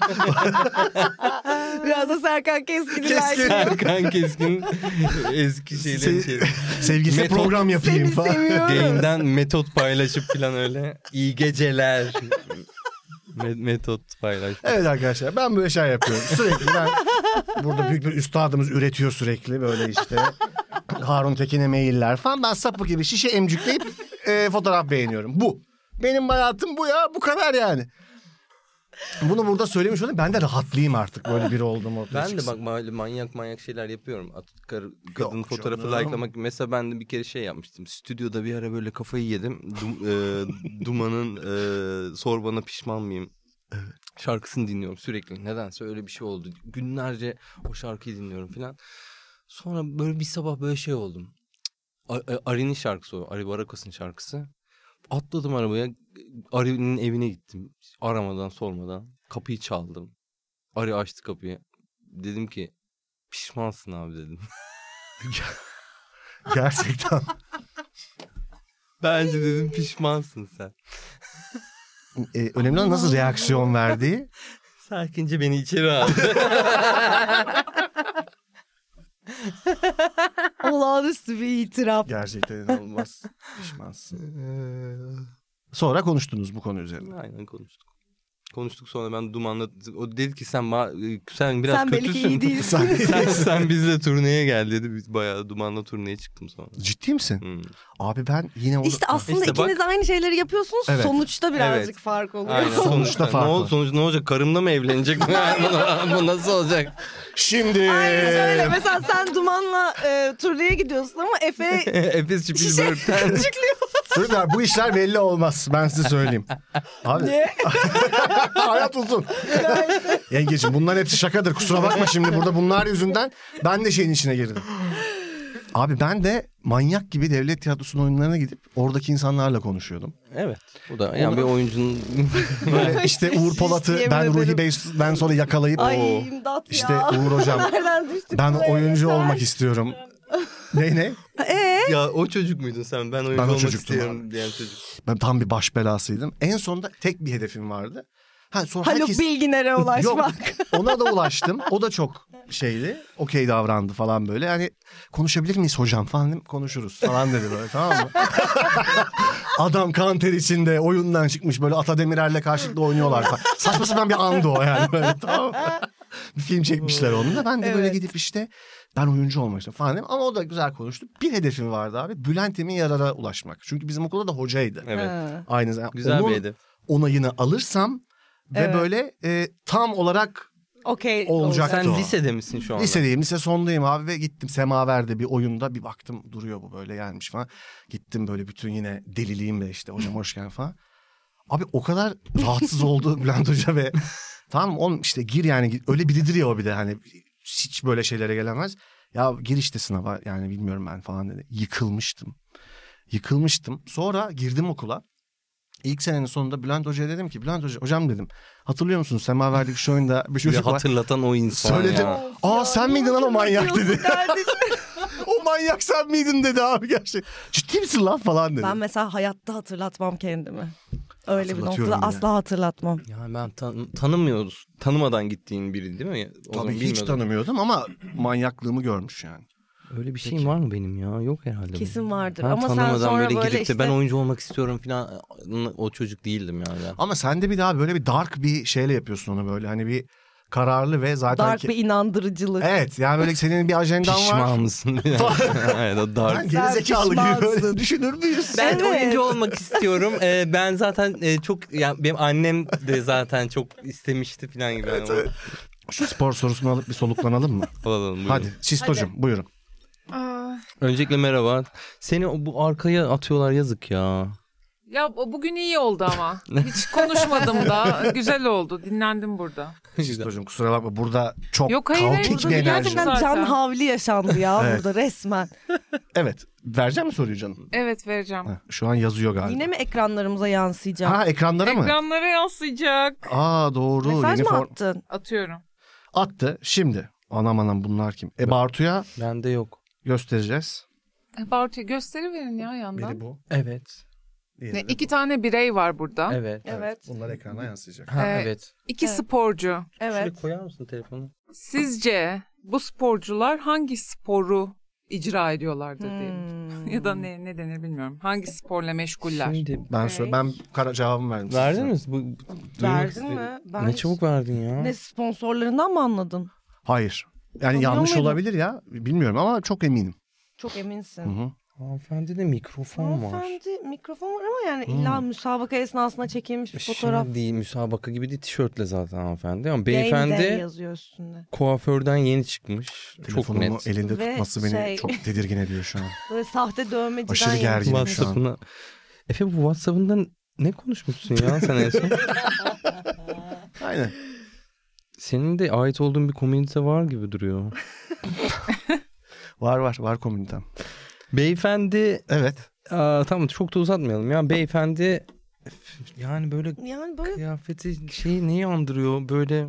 S3: Biraz da Serkan Keskin'i
S4: Keskin.
S3: like-
S2: Serkan
S4: (laughs)
S2: Keskin eski şeyleri
S4: Se- sevgilisi
S2: Metot-
S4: program yapayım
S3: Seni
S4: falan.
S3: seviyorum.
S2: Yayından metot paylaşıp falan öyle. İyi geceler. Me- metot paylaş.
S4: (laughs) Evet arkadaşlar ben böyle şey yapıyorum. Sürekli ben burada büyük bir üstadımız üretiyor sürekli böyle işte. Harun Tekin'e mailler falan. Ben sapık gibi şişe emcükleyip e, fotoğraf beğeniyorum. Bu. Benim hayatım bu ya. Bu kadar yani. Bunu burada söylemiş olayım. Ben de rahatlayayım artık böyle biri olduğum ortaya
S2: Ben de
S4: çıksın.
S2: bak böyle manyak manyak şeyler yapıyorum. At, karı- kadın
S4: Yok
S2: fotoğrafı
S4: canım.
S2: likelamak. Mesela ben de bir kere şey yapmıştım. Stüdyoda bir ara böyle kafayı yedim. Du-
S4: (laughs)
S2: e, Duman'ın e, Sor Bana Pişman Mıyım? Şarkısını dinliyorum sürekli. Nedense öyle bir şey oldu. Günlerce o şarkıyı dinliyorum falan. Sonra böyle bir sabah böyle şey oldum. A- A- Ari'nin şarkısı o. Ari Barakas'ın şarkısı. Atladım arabaya. Ari'nin evine gittim. Aramadan sormadan. Kapıyı çaldım. Ari açtı kapıyı. Dedim ki pişmansın abi dedim.
S4: Gerçekten.
S2: Bence dedim pişmansın sen.
S4: E, önemli olan nasıl reaksiyon verdiği.
S2: Sakince beni içeri aldı.
S3: Olağanüstü bir itiraf. (laughs)
S4: Gerçekten inanılmaz. Pişmansın. Ee, Sonra konuştunuz bu konu
S3: (laughs)
S4: üzerine.
S2: (laughs) Aynen konuştuk. Konuştuk sonra ben Duman'la o dedi ki sen ma- sen biraz
S3: Sen belki
S2: kötüsün. (laughs)
S3: iyi
S4: (laughs)
S3: değilsin.
S2: sen, sen bizle turneye gel dedi. Biz Bayağı Duman'la turneye çıktım sonra.
S4: Ciddi misin?
S2: Hmm.
S4: Abi ben yine onu...
S3: İşte aslında
S2: İşte bak-
S3: ikiniz aynı şeyleri yapıyorsunuz.
S4: Evet.
S3: Sonuçta birazcık
S2: Evet.
S3: fark oluyor.
S2: Aynen.
S4: Sonuçta
S2: Sonuçta
S4: fark
S2: ne, ol,
S4: var.
S2: sonuç ne olacak? Karımla mı evlenecek? (laughs) Bu nasıl (laughs) olacak?
S4: Şimdi...
S3: Hayır şöyle mesela sen Duman'la e, turneye gidiyorsun ama Efe
S2: Efes Spielberg'den.
S3: çıkıyor.
S4: Çocuklar bu işler belli olmaz. Ben size söyleyeyim. Abi (laughs) hayat uzun. Yengeciğim bunlar hepsi şakadır. Kusura bakma şimdi burada bunlar yüzünden ben de şeyin içine girdim. Abi ben de manyak gibi devlet tiyatrosunun oyunlarına gidip oradaki insanlarla konuşuyordum.
S2: (laughs) evet. Bu da yani bir
S3: (laughs)
S2: oyuncunun
S4: Böyle işte Uğur Polat'ı
S3: Yemin
S4: ben Ruhi
S3: ederim.
S4: Bey'den sonra yakalayıp
S3: Ay
S4: o
S3: imdat ya.
S4: işte Uğur
S3: (laughs)
S4: hocam
S3: Nereden düştük
S4: ben
S3: buraya?
S4: oyuncu
S3: (laughs)
S4: olmak istiyorum. Ne ne?
S3: E?
S2: ya o çocuk muydun sen? Ben oyuncu
S4: Ben o
S2: olmak
S4: çocuktum
S2: istiyorum diyen çocuk.
S4: Ben tam bir baş belasıydım. En sonunda tek bir hedefim vardı. Ha sonra
S3: Haluk
S4: herkes
S3: Bilginer'e (laughs) ulaşmak.
S4: ona da ulaştım. O da çok şeydi. Okey davrandı falan böyle. Yani konuşabilir miyiz hocam falan dedim. Konuşuruz falan dedi böyle tamam mı? (laughs) Adam kanter içinde oyundan çıkmış böyle Ata Demirer'le karşılıklı oynuyorlar falan. Saçma sapan bir andı o yani böyle tamam mı? bir film çekmişler onunla. Ben de böyle
S3: Evet.
S4: gidip işte ben oyuncu olmak istiyorum falan dedim. Ama o da güzel konuştu. Bir hedefim vardı abi. Bülent Emin Yarar'a ulaşmak. Çünkü bizim okulda da hocaydı.
S2: Evet.
S3: Ha.
S4: Aynı zamanda.
S2: Güzel
S4: Onun
S2: bir hedef.
S4: onayını alırsam ve
S3: Evet.
S4: böyle e, tam olarak
S3: Okey.
S4: Olacak.
S3: oldu.
S2: Sen
S4: o.
S2: lisede misin şu anda?
S4: Lisedeyim lise sondayım abi ve gittim Semaver'de bir oyunda bir baktım duruyor bu böyle gelmiş falan. Gittim böyle bütün yine deliliğimle işte hocam hoş geldin falan. Abi o kadar
S2: (laughs)
S4: rahatsız oldu Bülent Hoca ve tamam oğlum işte gir yani gir. öyle biridir ya o bir de hani hiç böyle şeylere gelemez. Ya gir işte sınava yani bilmiyorum ben falan dedi. Yıkılmıştım. Yıkılmıştım. Sonra girdim okula. İlk senenin sonunda Bülent Hoca'ya dedim ki Bülent Hoca hocam dedim hatırlıyor musunuz Semaver'deki şu oyunda bir
S2: Bir
S4: çocuk var.
S2: hatırlatan o insan
S4: Söyledim.
S2: ya.
S4: Aa sen miydin lan o manyak dedi.
S3: Kardeşim.
S4: o manyak sen miydin dedi abi gerçek. Ciddi misin lan falan dedi.
S3: Ben mesela hayatta hatırlatmam kendimi. Öyle bir
S4: Hatırlatıyorum
S3: noktada
S4: yine.
S3: asla hatırlatmam.
S2: Yani ben tan- tanımıyoruz. Tanımadan gittiğin biri değil mi? O zaman
S4: Tabii hiç
S2: bilmiyordum.
S4: tanımıyordum ama manyaklığımı görmüş yani.
S2: Öyle bir şeyim var mı benim ya? Yok herhalde.
S3: Kesin
S2: benim.
S3: vardır.
S2: Ben
S3: Ama sen
S2: tanımadan
S3: sonra böyle
S2: gidip de
S3: işte-
S2: ben oyuncu olmak istiyorum falan o çocuk değildim yani. Ben.
S4: Ama sen de bir daha böyle bir dark bir şeyle yapıyorsun onu böyle hani bir kararlı ve zaten
S3: Dark
S4: ki-
S3: bir inandırıcılık.
S4: Evet yani böyle senin bir ajendan var.
S2: Pişman
S3: (laughs)
S2: mısın? (laughs) evet o dark.
S4: Ben gerizekalı gibi böyle
S3: pişmansın.
S4: düşünür müyüz?
S2: Ben
S3: Evet.
S2: oyuncu olmak istiyorum. Ee, ben zaten e, çok yani benim annem de zaten çok istemişti falan gibi. Evet,
S4: Şu spor sorusunu alıp bir soluklanalım mı? Hadi Çisto'cum buyurun.
S5: Aa,
S2: Öncelikle merhaba. Seni o- bu arkaya atıyorlar yazık ya.
S5: Ya bu- bugün iyi oldu
S2: (laughs)
S5: ama. Hiç konuşmadım da. Güzel oldu. Dinlendim burada.
S4: Çisto'cum kusura bakma burada çok
S5: Yok, hayır, hayır,
S4: kaotik
S5: burada
S4: bir
S5: bir
S4: enerji.
S5: gerçekten-
S3: Gerçekten can
S5: Zaten.
S3: havli yaşandı ya
S4: Evet.
S3: burada resmen.
S4: Evet vereceğim mi soruyu canım?
S5: Evet vereceğim.
S4: Ha, şu an yazıyor galiba.
S3: Yine mi ekranlarımıza yansıyacak?
S4: Ha ekranlara mı?
S5: Ekranlara yansıyacak.
S4: Aa doğru.
S3: Mesaj
S4: yeni
S3: mı
S4: form-
S3: attın?
S5: Atıyorum.
S4: Attı. Şimdi. Anam anam bunlar kim? E Bartu'ya
S2: Bende yok.
S4: göstereceğiz.
S5: E, Bartu gösteri verin ya yandan.
S4: bu.
S2: Evet.
S4: Diğeri
S5: Ne,
S4: de
S5: iki tane birey var burada.
S2: Evet.
S3: Evet.
S4: Bunlar ekrana yansıyacak.
S2: Ha,
S5: Ah. Ee,
S2: evet.
S5: İki
S3: Evet.
S5: sporcu.
S3: Evet.
S2: Şuraya koyar mısın telefonu?
S5: Sizce bu sporcular hangi sporu icra ediyorlardır diyelim.
S3: Hmm.
S5: ya da ne, ne denir bilmiyorum. Hangi sporla meşguller?
S2: Şimdi
S4: Ben sor- ben kara cevabımı verdim. size.
S2: verdin mi? Bu, bu- duymak
S3: Verdin
S2: istedim.
S3: mi? Ben
S2: Ne çabuk verdin ya.
S3: Ne sponsorlarından mı anladın?
S4: Hayır. Yani
S3: Tanıyor
S4: yanlış
S3: muydun?
S4: olabilir ya. Bilmiyorum ama çok eminim.
S3: Çok
S4: Hı
S3: eminsin.
S4: -hı.
S2: Hanımefendi de mikrofon var.
S3: Hanımefendi mikrofon var ama yani illa müsabaka esnasında çekilmiş bir fotoğraf.
S2: Şey değil müsabaka gibi değil tişörtle zaten hanımefendi. Ama
S3: Game Day
S2: beyefendi
S3: yazıyor üstünde.
S2: kuaförden yeni çıkmış. Çok
S4: Telefonumu
S2: net.
S4: elinde
S3: Ve
S4: tutması beni
S3: şey-
S4: çok tedirgin ediyor şu an.
S3: Böyle sahte dövmeciden
S4: Aşırı gerginim.
S3: yazmış.
S4: şu an.
S2: WhatsApp'ına. Efe bu WhatsApp'ından ne konuşmuşsun ya sen en son?
S4: (laughs) Aynen.
S2: Senin de ait olduğun bir komünite var gibi duruyor.
S4: Var var var komünitem.
S2: Beyefendi
S4: Evet.
S2: aa, tamam çok da uzatmayalım ya. Beyefendi üf, yani böyle
S3: Yani böyle
S2: kıyafeti şey neyi andırıyor böyle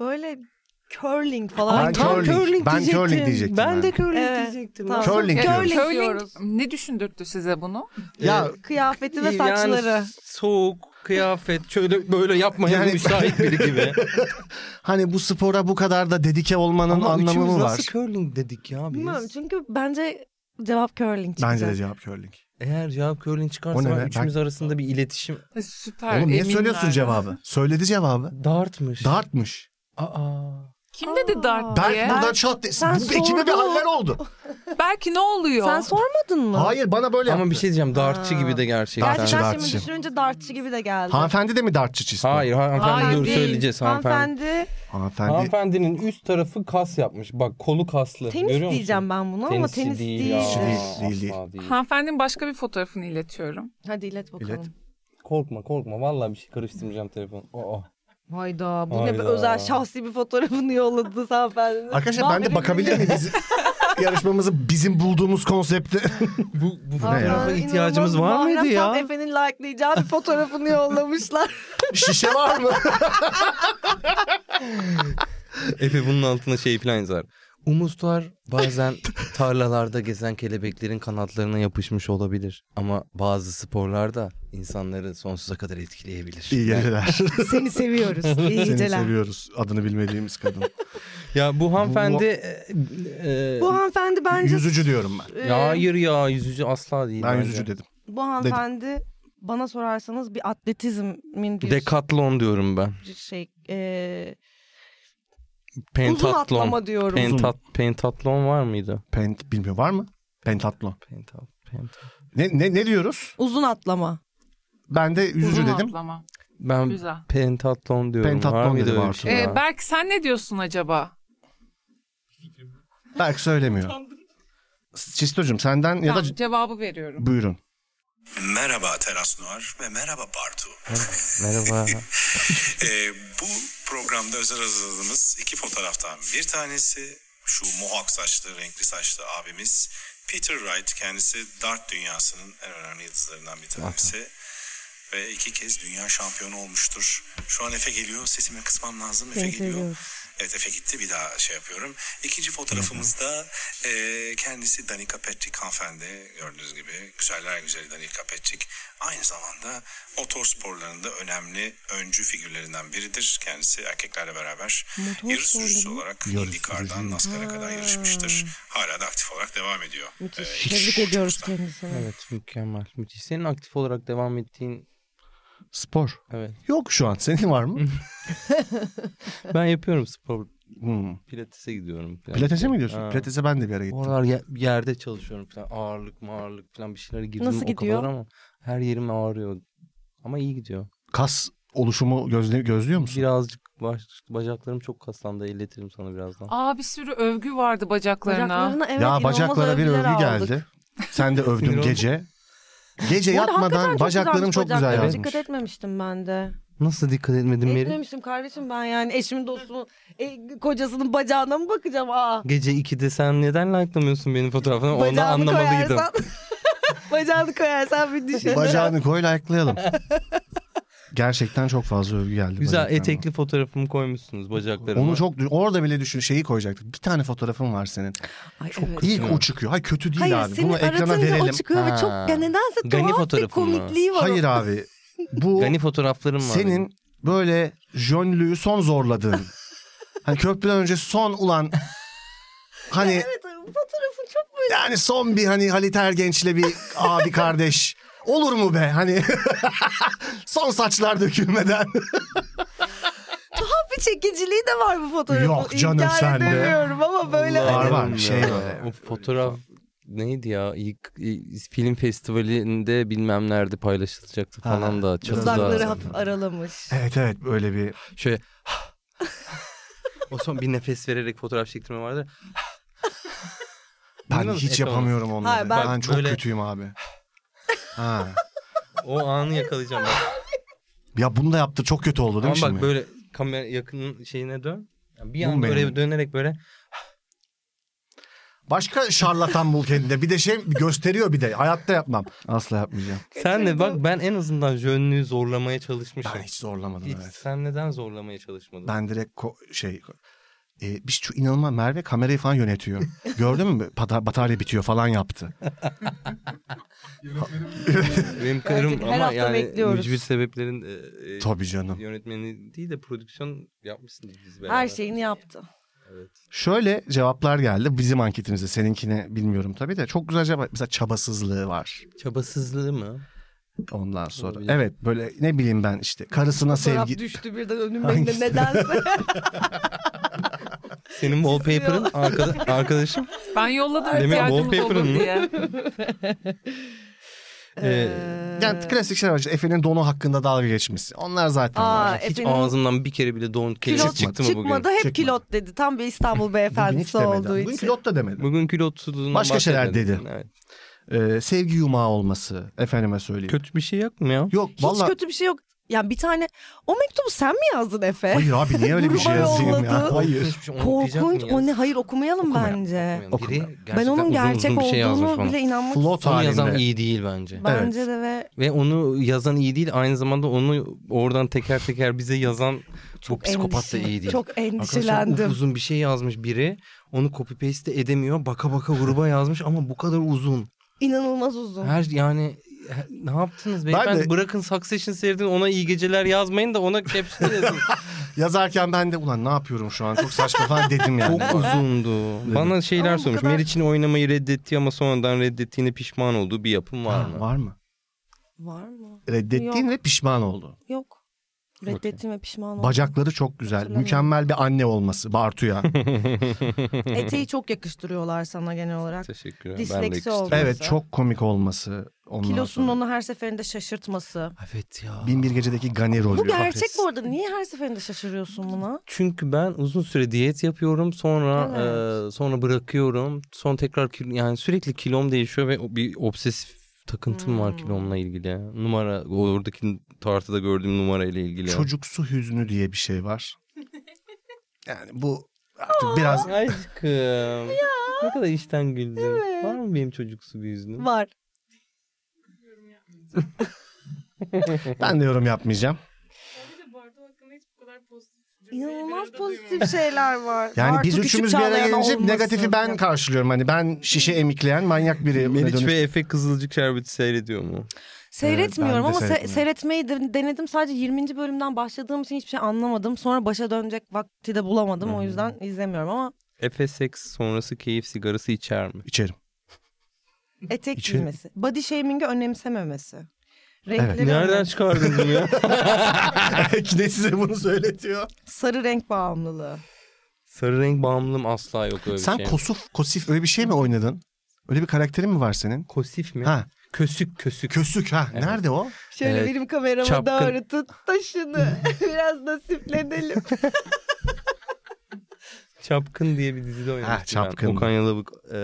S3: böyle curling falan.
S4: Ay,
S3: gibi.
S4: curling. Ben
S2: diyecektim.
S4: curling diyecektim
S2: Ben
S4: yani.
S2: de curling
S3: Evet,
S2: diyecektim.
S3: tamam.
S4: Curling diyoruz.
S5: Curling
S3: diyoruz.
S5: ne düşündürttü size bunu?
S4: Ya
S3: Kıyafeti ve
S2: Yani
S3: saçları.
S2: soğuk kıyafet şöyle böyle yapmaya
S4: Yani-
S2: müsait biri gibi.
S4: hani bu spora bu kadar da dedike
S2: (laughs)
S4: olmanın
S2: Ama
S4: anlamı
S2: üçümüz
S4: mı var?
S2: nasıl curling dedik ya biz?
S3: Bilmiyorum çünkü bence cevap curling çıkacak.
S4: Bence de cevap curling.
S2: Eğer cevap curling
S4: O
S2: çıkarsa
S4: ne
S2: ben
S4: be?
S2: üçümüz arasında bir iletişim
S5: E, Süper.
S4: Oğlum niye
S5: eminler.
S4: söylüyorsun cevabı? Söyledi cevabı.
S2: dartmış.
S4: Dartmış.
S2: Aa.
S5: Kim dedi dart
S4: Dart
S5: diye?
S4: buradan çat.
S3: Sen
S4: Bu ekibe bir
S3: sordun.
S4: haller oldu.
S5: Belki ne oluyor?
S3: Sen sormadın mı?
S4: Hayır bana böyle
S2: Ama
S4: yaptı.
S2: bir şey diyeceğim dartçı
S3: Ha.
S2: gibi de gerçekten.
S3: Gerçi ben
S4: Dartçı.
S3: şimdi düşününce dartçı gibi de geldi.
S4: Hanımefendi de mi dartçı çizdi?
S2: Hayır hanımefendi
S5: Hayır,
S2: dur
S5: değil.
S2: söyleyeceğiz hanımefendi.
S3: Hanımefendi
S4: Hanımefendi.
S2: Hanımefendinin üst tarafı kas yapmış. Bak kolu kaslı. Görüyor
S3: tenis
S2: musun?
S3: diyeceğim ben buna ama
S2: Tenisçi
S3: tenis değil.
S2: değil. ya.
S4: Tenisçi değil,
S2: Asla
S4: değil,
S5: Hanımefendinin başka bir fotoğrafını iletiyorum.
S3: Hadi ilet bakalım.
S4: İlet.
S2: Korkma korkma. Vallahi bir şey karıştırmayacağım telefonu. Oh, Aa.
S3: Hayda bu ne bir
S2: Hayda.
S3: özel şahsi bir fotoğrafını yolladınız hanımefendi.
S4: Arkadaşlar ben de
S3: Haberim
S4: bakabilir
S3: bile
S4: miyim? Biz- yarışmamızı bizim bulduğumuz konsepte.
S2: Bu, bu
S3: yok.
S2: fotoğrafa
S3: Allah'ım,
S2: ihtiyacımız
S3: inanılmaz.
S2: var mıydı
S3: Muharrem Tam
S2: ya?
S3: Efe'nin likelayacağı bir fotoğrafını
S4: (laughs)
S3: yollamışlar.
S4: Şişe var mı?
S2: Efe bunun altına şey falan yazar. Umutlar bazen (laughs) tarlalarda gezen kelebeklerin kanatlarına yapışmış olabilir. Ama bazı sporlarda insanları sonsuza kadar etkileyebilir.
S4: İyi geceler.
S3: Seni seviyoruz. İyi
S4: Seni
S3: geceler.
S4: seviyoruz. Adını bilmediğimiz kadın.
S2: Ya bu hanımefendi... e, e,
S3: Bu hanımefendi bence...
S4: Yüzücü diyorum ben.
S3: e,
S2: ya hayır ya yüzücü asla değil.
S4: Ben
S2: bence.
S4: yüzücü dedim.
S3: Bu hanımefendi bana sorarsanız bir atletizmin bir
S2: Dekatlon diyorum ben.
S3: şey... E, uzun
S2: Pentatlon.
S3: atlama diyorum.
S2: Pentat, pentatlon var mıydı?
S4: Pent bilmiyorum var mı? Pentatlon.
S2: Pentat, pentat.
S4: Ne, ne, ne diyoruz?
S3: Uzun atlama.
S4: Ben de yüzücü
S5: Uzun
S4: dedim.
S5: atlama.
S2: Ben
S5: Güzel.
S2: pentatlon diyorum.
S4: Pentatlon
S2: var mıydı
S4: dedi
S2: öyle bir
S4: Bartu.
S2: şey? ya?
S5: Ee, Berk sen ne diyorsun acaba?
S4: Belki söylemiyor. Çistocuğum senden ya da
S5: Tamam, cevabı veriyorum.
S4: buyurun.
S7: Merhaba Teras Noir ve merhaba Bartu.
S2: Merhaba.
S7: Ee, bu programda özel hazırladığımız iki fotoğraftan bir tanesi şu mohawk saçlı, renkli saçlı abimiz Peter Wright. Kendisi dart dünyasının en önemli yıldızlarından bir tanesi. Ve iki kez dünya şampiyonu olmuştur. Şu an Efe geliyor. Sesimi kısmam lazım. Efe
S3: Seni
S7: geliyor.
S3: seviyoruz.
S7: Evet Efe gitti bir daha şey yapıyorum. İkinci fotoğrafımızda e, kendisi Danica Petrik hanımefendi gördüğünüz gibi. Güzeller güzeli Danica Petrik. Aynı zamanda motor sporlarında önemli öncü figürlerinden biridir. Kendisi erkeklerle beraber
S3: Motor
S7: yarış
S3: sporları
S7: sürücüsü
S3: mı?
S7: olarak
S4: Yarış
S7: IndyCar'dan NASCAR'a kadar yarışmıştır. Hala da aktif olarak devam ediyor.
S3: Müthiş.
S7: Ee, hiç
S3: Tebrik ediyoruz
S7: uçmuştan.
S3: kendisini.
S2: Evet mükemmel. Müthiş. Senin aktif olarak devam ettiğin
S4: Spor.
S2: evet.
S4: Yok şu an. Senin
S2: (laughs)
S4: var mı?
S2: Ben yapıyorum spor.
S4: Hmm.
S2: Pilates'e gidiyorum. falan.
S4: Pilates'e mi gidiyorsun?
S2: Ha.
S4: Pilates'e ben de bir ara gittim.
S2: Oralar ye- yerde çalışıyorum falan. Ağırlık mağırlık falan bir şeylere girdim
S3: Nasıl
S2: o
S3: gidiyor?
S2: kadar ama her yerim ağrıyor. Ama iyi gidiyor.
S4: Kas oluşumu gözle, gözlüyor musun?
S2: Birazcık baş- bacaklarım çok kaslandı. Elletirim sana birazdan.
S5: Aa bir sürü övgü vardı bacaklarına.
S3: Bacaklarına evet
S4: ya
S3: inanılmaz
S4: bacaklara bir
S3: övgüler
S4: övgü
S3: aldık.
S4: geldi. Sen de övdün
S2: Sinir
S4: gece. Gece
S3: Bu arada hakikaten
S4: yatmadan
S3: çok
S4: bacaklarım
S3: güzelmiş
S4: çok güzel
S3: bacakları.
S4: yazmış.
S3: Dikkat etmemiştim ben de.
S2: Nasıl dikkat etmedin Meri?
S3: Etmemiştim kardeşim ben yani eşimin dostumun e, kocasının bacağına mı bakacağım? Aa.
S2: Gece 2'de sen neden like'lamıyorsun benim fotoğrafını? Onu
S3: Bacağını
S2: anlamalıydım.
S3: koyarsan, (laughs) bacağını koyarsan bir düşün.
S4: Bacağını koy like'layalım. Gerçekten çok fazla övgü geldi.
S2: Güzel
S4: bacaklarıma.
S2: etekli fotoğrafımı koymuşsunuz bacaklarıma.
S4: Onu çok orada bile düşün şeyi koyacaktık. Bir tane fotoğrafın var senin.
S3: Ay, evet.
S4: İlk o çıkıyor. Hayır kötü değil
S3: Hayır
S4: abi.
S3: seni
S4: Bunu ekrana
S3: aratınca
S4: verelim.
S3: o çıkıyor ve
S4: Ha.
S3: çok ya nedense
S2: Gani
S3: tuhaf bir
S2: fotoğrafı mı?
S3: komikliği var.
S4: Hayır
S3: o- (laughs)
S4: abi. Bu
S2: Gani fotoğraflarım var. benim.
S4: senin böyle jönlüğü son zorladığın. hani köprüden önce son ulan hani
S3: Evet fotoğrafı çok böyle.
S4: yani son bir hani Halit Ergenç'le bir abi kardeş olur mu be hani (laughs) son saçlar dökülmeden
S3: Tuhaf bir çekiciliği de var bu fotoğrafın.
S4: Yok canım
S3: İnkar
S4: sen de.
S3: edemiyorum ama böyle.
S2: Allah
S4: Var, var,
S2: Allah.
S4: bir şey var.
S2: O fotoğraf neydi ya? İlk, ilk film festivalinde bilmem nerede paylaşılacaktı
S4: Ha,
S2: falan da. Çok
S3: Dudakları
S2: da
S3: hafif aralamış.
S4: (laughs) evet evet böyle bir
S2: şöyle (laughs) o son bir nefes vererek fotoğraf çektirme vardı.
S4: ben
S2: Bilmiyorum,
S4: hiç
S2: et olmaz.
S4: yapamıyorum onları.
S3: Hayır,
S4: ben,
S3: ben-
S4: çok
S2: Böyle-
S4: kötüyüm abi. Ha.
S2: O anı yakalayacağım. ben.
S4: Ya bunu da yaptı çok kötü oldu
S2: Ama
S4: değil mi
S2: bak
S4: şimdi?
S2: böyle kamera yakının şeyine dön. Yani bir
S4: Bu mu
S2: an böyle
S4: benim?
S2: dönerek böyle
S4: Başka şarlatan bul kendine. Bir de şey gösteriyor bir de. Hayatta yapmam. Asla yapmayacağım.
S2: sen de bak ben en azından jönlüğü zorlamaya çalışmışım.
S4: Ben hiç zorlamadım
S2: Hiç
S4: evet.
S2: sen neden zorlamaya çalışmadın?
S4: Ben direkt ko- şey... E, biz şu inanılmaz Merve kamerayı
S3: (laughs)
S4: falan yönetiyor. Gördün mü? Bata- batarya bitiyor falan yaptı.
S2: Benim karım
S3: Gerçekten her
S2: ama
S3: hafta
S2: yani
S3: bekliyoruz.
S2: mücbir sebeplerin e, e,
S4: Tabii canım.
S2: yönetmeni değil de prodüksiyon yapmışsınız biz beraber.
S3: Her şey- şeyini yaptı.
S4: Şöyle cevaplar geldi bizim anketimize. Seninkine bilmiyorum tabii de. Çok güzel cevap. Mesela çabasızlığı var.
S2: Çabasızlığı mı?
S4: Ondan sonra.
S2: Olabilir.
S4: Evet böyle ne bileyim ben işte karısına
S3: Fotoğraf
S4: sevgi...
S3: düştü birden önüme de nedense.
S2: Senin wallpaper'ın
S3: (laughs)
S2: arkada, arkadaşım.
S5: Ben yolladım
S2: Demek
S5: ihtiyacımız
S2: wallpaper'ın
S5: olur
S2: mı?
S5: diye.
S2: (laughs) Ee,
S4: Yani klasik şeyler var. İşte Efe'nin donu hakkında dalga geçmesi. Onlar zaten
S3: Aa,
S4: var.
S2: Hiç
S3: Efe'nin
S2: ağzımdan bir kere bile don kelimesi
S3: Kilot
S2: çıktı mı bugün?
S3: çıkmadı hep
S4: Çıkmadı.
S3: kilot dedi. Tam bir İstanbul
S4: Bugün hiç
S3: beyefendisi
S4: demedi.
S3: olduğu
S4: Bugün
S3: için.
S4: pilot da demedi.
S2: Bugün kilotsuzluğundan
S4: Başka şeyler
S2: bahsetmedim. Evet.
S4: Ee, sevgi yumağı olması. Efendime söyleyeyim.
S2: Kötü bir şey yok mu ya?
S4: Yok
S3: Hiç
S4: valla.
S3: kötü bir şey yok. Yani bir tane o mektubu sen mi yazdın Efe?
S4: (laughs) Hayır abi niye öyle
S3: (laughs)
S4: bir şey
S3: Vurma
S4: yazayım ya?
S3: yolladı.
S4: Hayır.
S2: Hiçbir şey- onu okuyacak
S3: Korkunç.
S2: mıyız?
S3: O ne? Hayır okumayalım
S4: Okumayalım,
S3: bence.
S2: Okumayalım. Biri gerçekten
S3: Ben onun
S2: uzun
S3: gerçek
S2: uzun bir şey yazmış
S3: olduğunu
S2: bana.
S3: bile inanmak
S4: Flot
S2: Onu yazan
S4: halinde.
S2: iyi değil bence.
S3: bence de ve
S2: Ve onu yazan iyi değil. Aynı zamanda onu oradan teker teker bize yazan çok psikopat da
S3: endişe-
S2: iyi değil.
S3: Çok
S2: Arkadaşlar
S3: endişelendim.
S2: uzun bir şey yazmış biri. Onu copy paste de edemiyor. Baka baka gruba yazmış ama bu kadar uzun.
S3: İnanılmaz uzun.
S2: Her yani he- ne yaptınız beyefendi?
S4: de-
S2: Bırakın Succession seyredin ona iyi geceler yazmayın da ona caption yazın.
S4: Yazarken ben de ulan ne yapıyorum şu an çok saçma falan dedim
S2: (laughs)
S4: yani.
S2: Çok uzundu. Bana şeyler
S3: Ama bu
S2: sormuş.
S3: kadar-
S2: Meriç'in oynamayı reddetti ama sonradan reddettiğine pişman olduğu bir yapım var
S4: Ha,
S2: mı?
S4: var mı?
S3: Var mı?
S4: Reddettiğin
S3: Yok.
S4: ve pişman oldu.
S3: Yok. Reddettim ve pişman oldum.
S4: Bacakları çok güzel.
S3: Hatırlamıyorum.
S4: Mükemmel bir anne
S3: (laughs)
S4: olması. Bartu'ya.
S3: Eteği çok yakıştırıyorlar sana genel olarak.
S2: Teşekkürler.
S3: Disleksi
S2: ben de istedim.
S3: oldu.
S4: evet çok komik olması. Ondan
S3: Kilosunun
S4: sonra.
S3: onu her seferinde şaşırtması.
S2: Evet ya.
S4: Bin bir gecedeki Gani rolü.
S3: Bu gerçek bu arada. Niye her seferinde şaşırıyorsun buna?
S2: Çünkü ben uzun süre diyet yapıyorum. Sonra
S3: Evet.
S2: e, sonra bırakıyorum. Son tekrar kil- yani sürekli kilom değişiyor ve o- bir obsesif takıntım
S3: Hmm.
S2: var kilomla ilgili. Numara oradaki tartıda gördüğüm numara ile ilgili.
S4: Çocuksu hüznü diye bir
S3: (laughs)
S4: şey var. Yani bu artık biraz
S2: Aşkım. Ne kadar işten güldün. Var mı benim çocuksu bir yüzünüm?
S3: Var.
S4: ben de yorum yapmayacağım.
S5: Bu arada hakkında hiç bu kadar pozitif
S8: İnanılmaz pozitif şeyler var.
S4: Yani
S8: Bartu
S4: biz
S8: Küçük
S4: üçümüz bir araya
S8: Çağlayan
S4: gelince
S8: olmasın.
S4: negatifi ben karşılıyorum. Hani ben şişe emikleyen manyak biri.
S2: Meriç ve Efe Kızılcık Şerbeti seyrediyor mu?
S3: Seyretmiyorum
S4: ben
S3: ama
S4: de
S3: se-
S4: seyretmiyorum.
S3: seyretmeyi de- denedim. Sadece 20. bölümden başladığım için hiçbir şey anlamadım. Sonra başa dönecek vakti de bulamadım.
S4: Hmm.
S3: O yüzden izlemiyorum ama
S2: Efe seks sonrası keyif sigarası içer mi?
S4: içerim.
S3: etek
S4: İçeri-
S3: giymesi. Body shaming'i önemsememesi. Renkleri
S2: Nereden
S3: önem-
S2: çıkardın bunu ya? (laughs)
S4: ne size bunu söyletiyor?
S3: Sarı renk bağımlılığı.
S2: Sarı renk bağımlılığım asla yok öyle bir
S4: Sen
S2: şey.
S4: kosuf, kosif öyle bir şey mi oynadın? Öyle bir karakterin mi var senin?
S2: Kosif mi?
S4: Ha,
S2: Kösük kösük.
S4: kösük ha.
S2: Evet.
S4: Nerede o?
S8: Şöyle
S2: Evet.
S8: benim kamerama
S2: Çapkın.
S8: doğru tut taşını.
S4: (laughs)
S8: Biraz nasiplenelim.
S2: Çapkın diye bir dizide oynamıştım
S4: Çapkın.
S2: ben. Okan Yalabık e,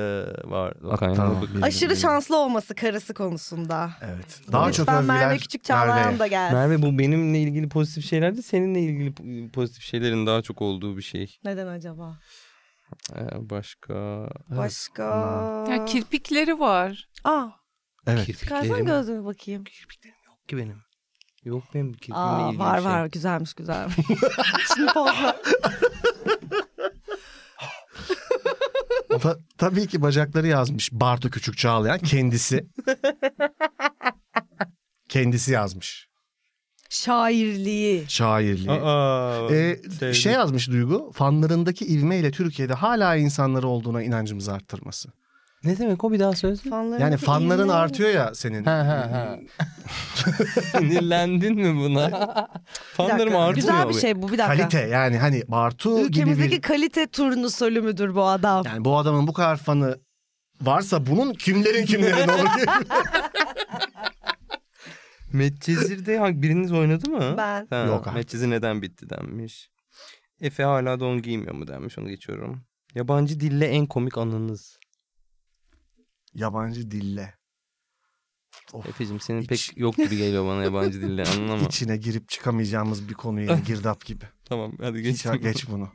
S2: var. Okan
S4: Hatta
S2: Yalabık.
S4: bildim,
S3: Aşırı
S4: bildim.
S3: şanslı olması karısı konusunda.
S4: Evet. Daha çok
S3: Lütfen
S4: övgüler
S3: Merve Küçük Çağlayan
S4: Merve'ye.
S3: da gelsin.
S2: Merve bu benimle ilgili pozitif şeyler de seninle ilgili po- pozitif şeylerin daha çok olduğu bir şey.
S3: Neden acaba?
S2: E, başka...
S3: Başka.
S5: Ya kirpikleri var.
S3: Aa,
S4: Evet.
S3: çıkarsana gözümü bakayım.
S2: ki benim. Yok benim kirpikle
S3: Aa,
S2: ilgili
S3: var
S2: bir şey.
S3: var güzelmiş
S4: (laughs)
S3: güzelmiş. Şimdi poz ver.
S4: Ta- tabii ki bacakları yazmış Bartu Küçük Çağlayan (laughs) kendisi. kendisi yazmış.
S3: Şairliği.
S4: Şairliği.
S2: Aa,
S4: Ee,
S2: sevdim.
S4: şey yazmış Duygu, fanlarındaki ivmeyle Türkiye'de hala insanları olduğuna inancımızı arttırması.
S2: Ne demek o bir daha söz?
S3: Fanların
S4: Yani fanların artıyor ya senin.
S2: (laughs) Sinirlendin mi
S3: (laughs)
S2: buna? Fanlarım artıyor.
S3: Güzel bir
S2: abi.
S3: şey bu bir dakika.
S4: Kalite yani hani Bartu
S3: Ülkemizdeki
S4: gibi
S3: kalite turnusölü müdür bu adam?
S4: bir... Yani bu adamın bu kadar fanı varsa bunun kimlerin kimlerin
S3: (laughs)
S4: olur ki?
S2: Medcezir'de ha- biriniz oynadı mı?
S3: Ben.
S2: Ha,
S4: Yok artık.
S2: Medcezir neden bitti denmiş. Efe hala don giymiyor mu denmiş onu geçiyorum. Yabancı dille en komik anınız.
S4: Yabancı dille. Of.
S2: Efe'cim senin
S4: Hiç.
S2: pek yok gibi geliyor bana yabancı dille anın ama.
S4: İçine girip çıkamayacağımız bir konuya girdap gibi.
S2: Tamam hadi
S4: Geç,
S2: geç.
S4: geç bunu.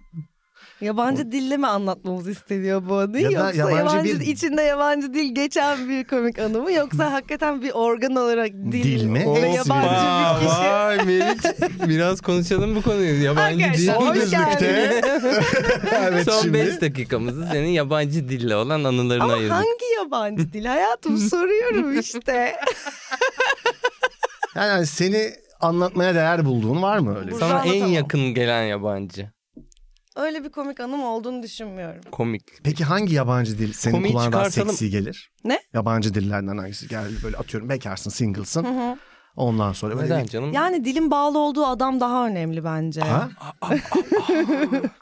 S3: Yabancı dille mi anlatmamız isteniyor bu anı?
S4: Ya da
S3: yoksa yabancı,
S4: yabancı bir-
S3: içinde yabancı dil geçen bir komik anı mı? Yoksa hakikaten bir organ olarak dil,
S4: Hmm. Dil mi?
S3: ve
S4: Of
S3: yabancı bir kişi.
S2: Vay Meriç biraz konuşalım bu konuyu. Yabancı dil.
S3: Arkadaşlar,
S4: Bu
S3: Hoş
S4: düzlükte. (laughs) evet
S2: Son
S4: şimdi.
S2: 5 dakikamızı senin yabancı dille olan anılarına
S3: Ama
S2: ayırdık.
S3: hangi yabancı dil?
S4: (laughs)
S3: Hayatım soruyorum işte.
S4: Yani hani seni anlatmaya değer bulduğun var mı öyle? bir-
S3: Burada
S2: Sana en
S3: anlatamam.
S2: yakın gelen yabancı.
S3: Öyle bir komik anım olduğunu düşünmüyorum.
S2: Komik.
S4: Peki hangi yabancı dil senin
S2: Komiği
S4: kulağına daha
S2: çıkartalım.
S4: seksi gelir?
S3: Ne?
S4: Yabancı dillerden hangisi geldi böyle atıyorum bekarsın single'sın.
S3: Hı hı.
S4: Ondan sonra böyle
S2: Neden
S4: bir...
S2: canım?
S3: Yani dilin bağlı olduğu adam daha önemli bence.
S4: Ha?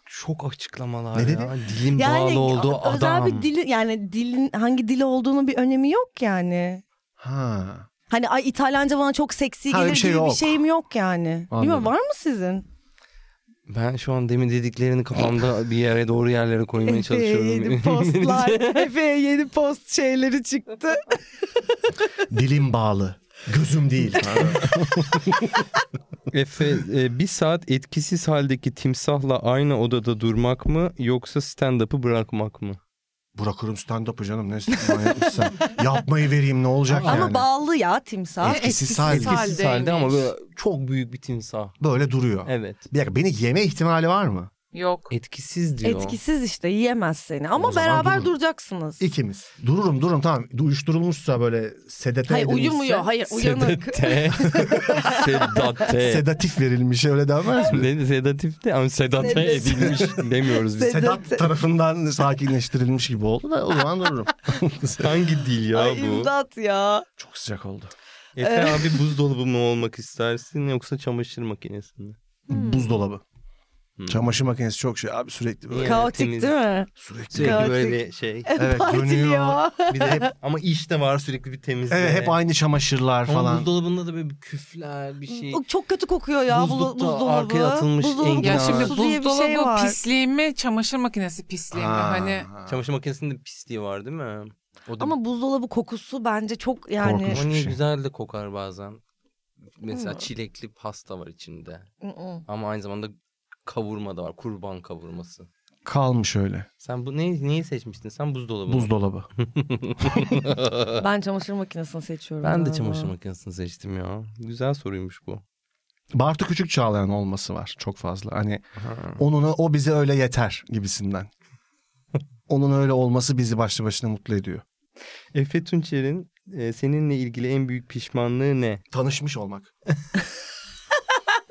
S2: Çok açıklamalar
S4: Ne
S2: ya.
S4: dedi?
S2: Dilin bağlı olduğu
S3: özel
S2: adam.
S3: bir dili yani dilin hangi dili olduğunun bir önemi yok yani.
S4: Ha.
S3: Hani ay İtalyanca bana çok seksi
S4: Ha, öyle
S3: gelir
S4: bir şey
S3: gibi bir
S4: yok.
S3: şeyim yok yani. Bilmiyorum var mı sizin?
S2: Ben şu an demin dediklerini
S3: (laughs)
S2: kafamda bir yere doğru yerlere koymaya
S3: Efe'ye
S2: (laughs) çalışıyorum.
S3: yeni
S4: (laughs)
S3: postlar. Efe'ye yeni post şeyleri çıktı.
S4: Dilim bağlı. Gözüm değil.
S2: Efe e, bir saat etkisiz haldeki timsahla aynı odada durmak mı yoksa stand-up'ı bırakmak mı?
S4: Bırakırım stand-up'ı canım. Ne manyak mısın sen? Yapmayı vereyim ne olacak yani.
S3: Ama bağlı ya timsah.
S4: Etkisiz hal.
S5: Etkisiz
S2: Etkisiz halde ama böyle çok büyük bir timsah.
S4: Böyle duruyor.
S2: Evet.
S4: Bir dakika beni yeme ihtimali var mı?
S5: Yok.
S2: Etkisiz diyor.
S3: Etkisiz işte yiyemez seni. Ama
S4: O zaman
S3: beraber
S4: durun.
S3: duracaksınız.
S4: İkimiz. Dururum dururum tamam. Uyuşturulmuşsa böyle sedete
S3: Hayır
S4: edilmişse-
S3: uyumuyor. Hayır uyanık. (laughs)
S2: Sedate. Sedate.
S4: Sedatif verilmiş
S3: (laughs)
S4: öyle denmez mi?
S2: Ne sedatif de ama sedate
S3: Sedat.
S2: edilmiş demiyoruz biz.
S4: Sedat tarafından sakinleştirilmiş gibi oldu da o zaman dururum.
S2: Hangi dil ya
S3: Ay
S2: bu?
S3: imdat Ee. ya.
S4: Çok sıcak oldu.
S2: Efe abi buzdolabı mı olmak istersin yoksa çamaşır makinesi mi?
S4: Buzdolabı.
S2: Hmm.
S4: Çamaşır makinesi çok şey abi sürekli böyle.
S2: Evet,
S3: Kaotik
S2: Ee, temiz.
S3: değil mi?
S4: Sürekli.
S2: Sürekli
S3: Kaotik.
S2: böyle bir
S3: (laughs)
S2: şey.
S4: Evet dönüyor.
S3: Dönüyor.
S2: Bir de hep ama işte var sürekli bir temizlik.
S4: Evet hep aynı çamaşırlar
S2: Ama
S4: falan.
S2: buzdolabında da böyle bir küfler bir şey.
S3: O Çok kötü kokuyor ya bu
S2: Buzlukta
S3: buzdolabı.
S2: arkaya atılmış
S3: buzdolabı
S2: engin
S5: Ya
S2: Ya.
S5: şimdi
S3: kokusu diye bir
S5: buzdolabı
S3: şey var.
S5: pisliği mi çamaşır makinesi pisliği mi?
S4: Ha.
S5: Hani
S2: Çamaşır makinesinde pisliği var değil mi? O da
S3: Ama buzdolabı kokusu bence çok yani.
S4: Korkunç.
S2: Ama niye
S4: şey.
S2: güzel de kokar bazen. Mesela
S3: Hı.
S2: çilekli pasta var içinde.
S3: Mm-mm.
S2: Ama aynı zamanda kavurma da var. Kurban kavurması.
S4: Kalmış öyle.
S2: Sen bu neyi, neyi seçmiştin? Sen buzdolabı. mı?
S4: Buzdolabı.
S3: ben çamaşır makinesini seçiyorum.
S2: Ben de
S3: galiba.
S2: çamaşır makinesini seçtim ya. Güzel soruymuş bu.
S4: Bartu Küçük Çağlayan olması var çok fazla. Hani onuna o bize öyle yeter
S2: (laughs)
S4: gibisinden. Onun öyle olması bizi başlı başına mutlu ediyor.
S2: Efe Tunçer'in e, seninle ilgili en büyük pişmanlığı ne? (laughs)
S4: Tanışmış olmak.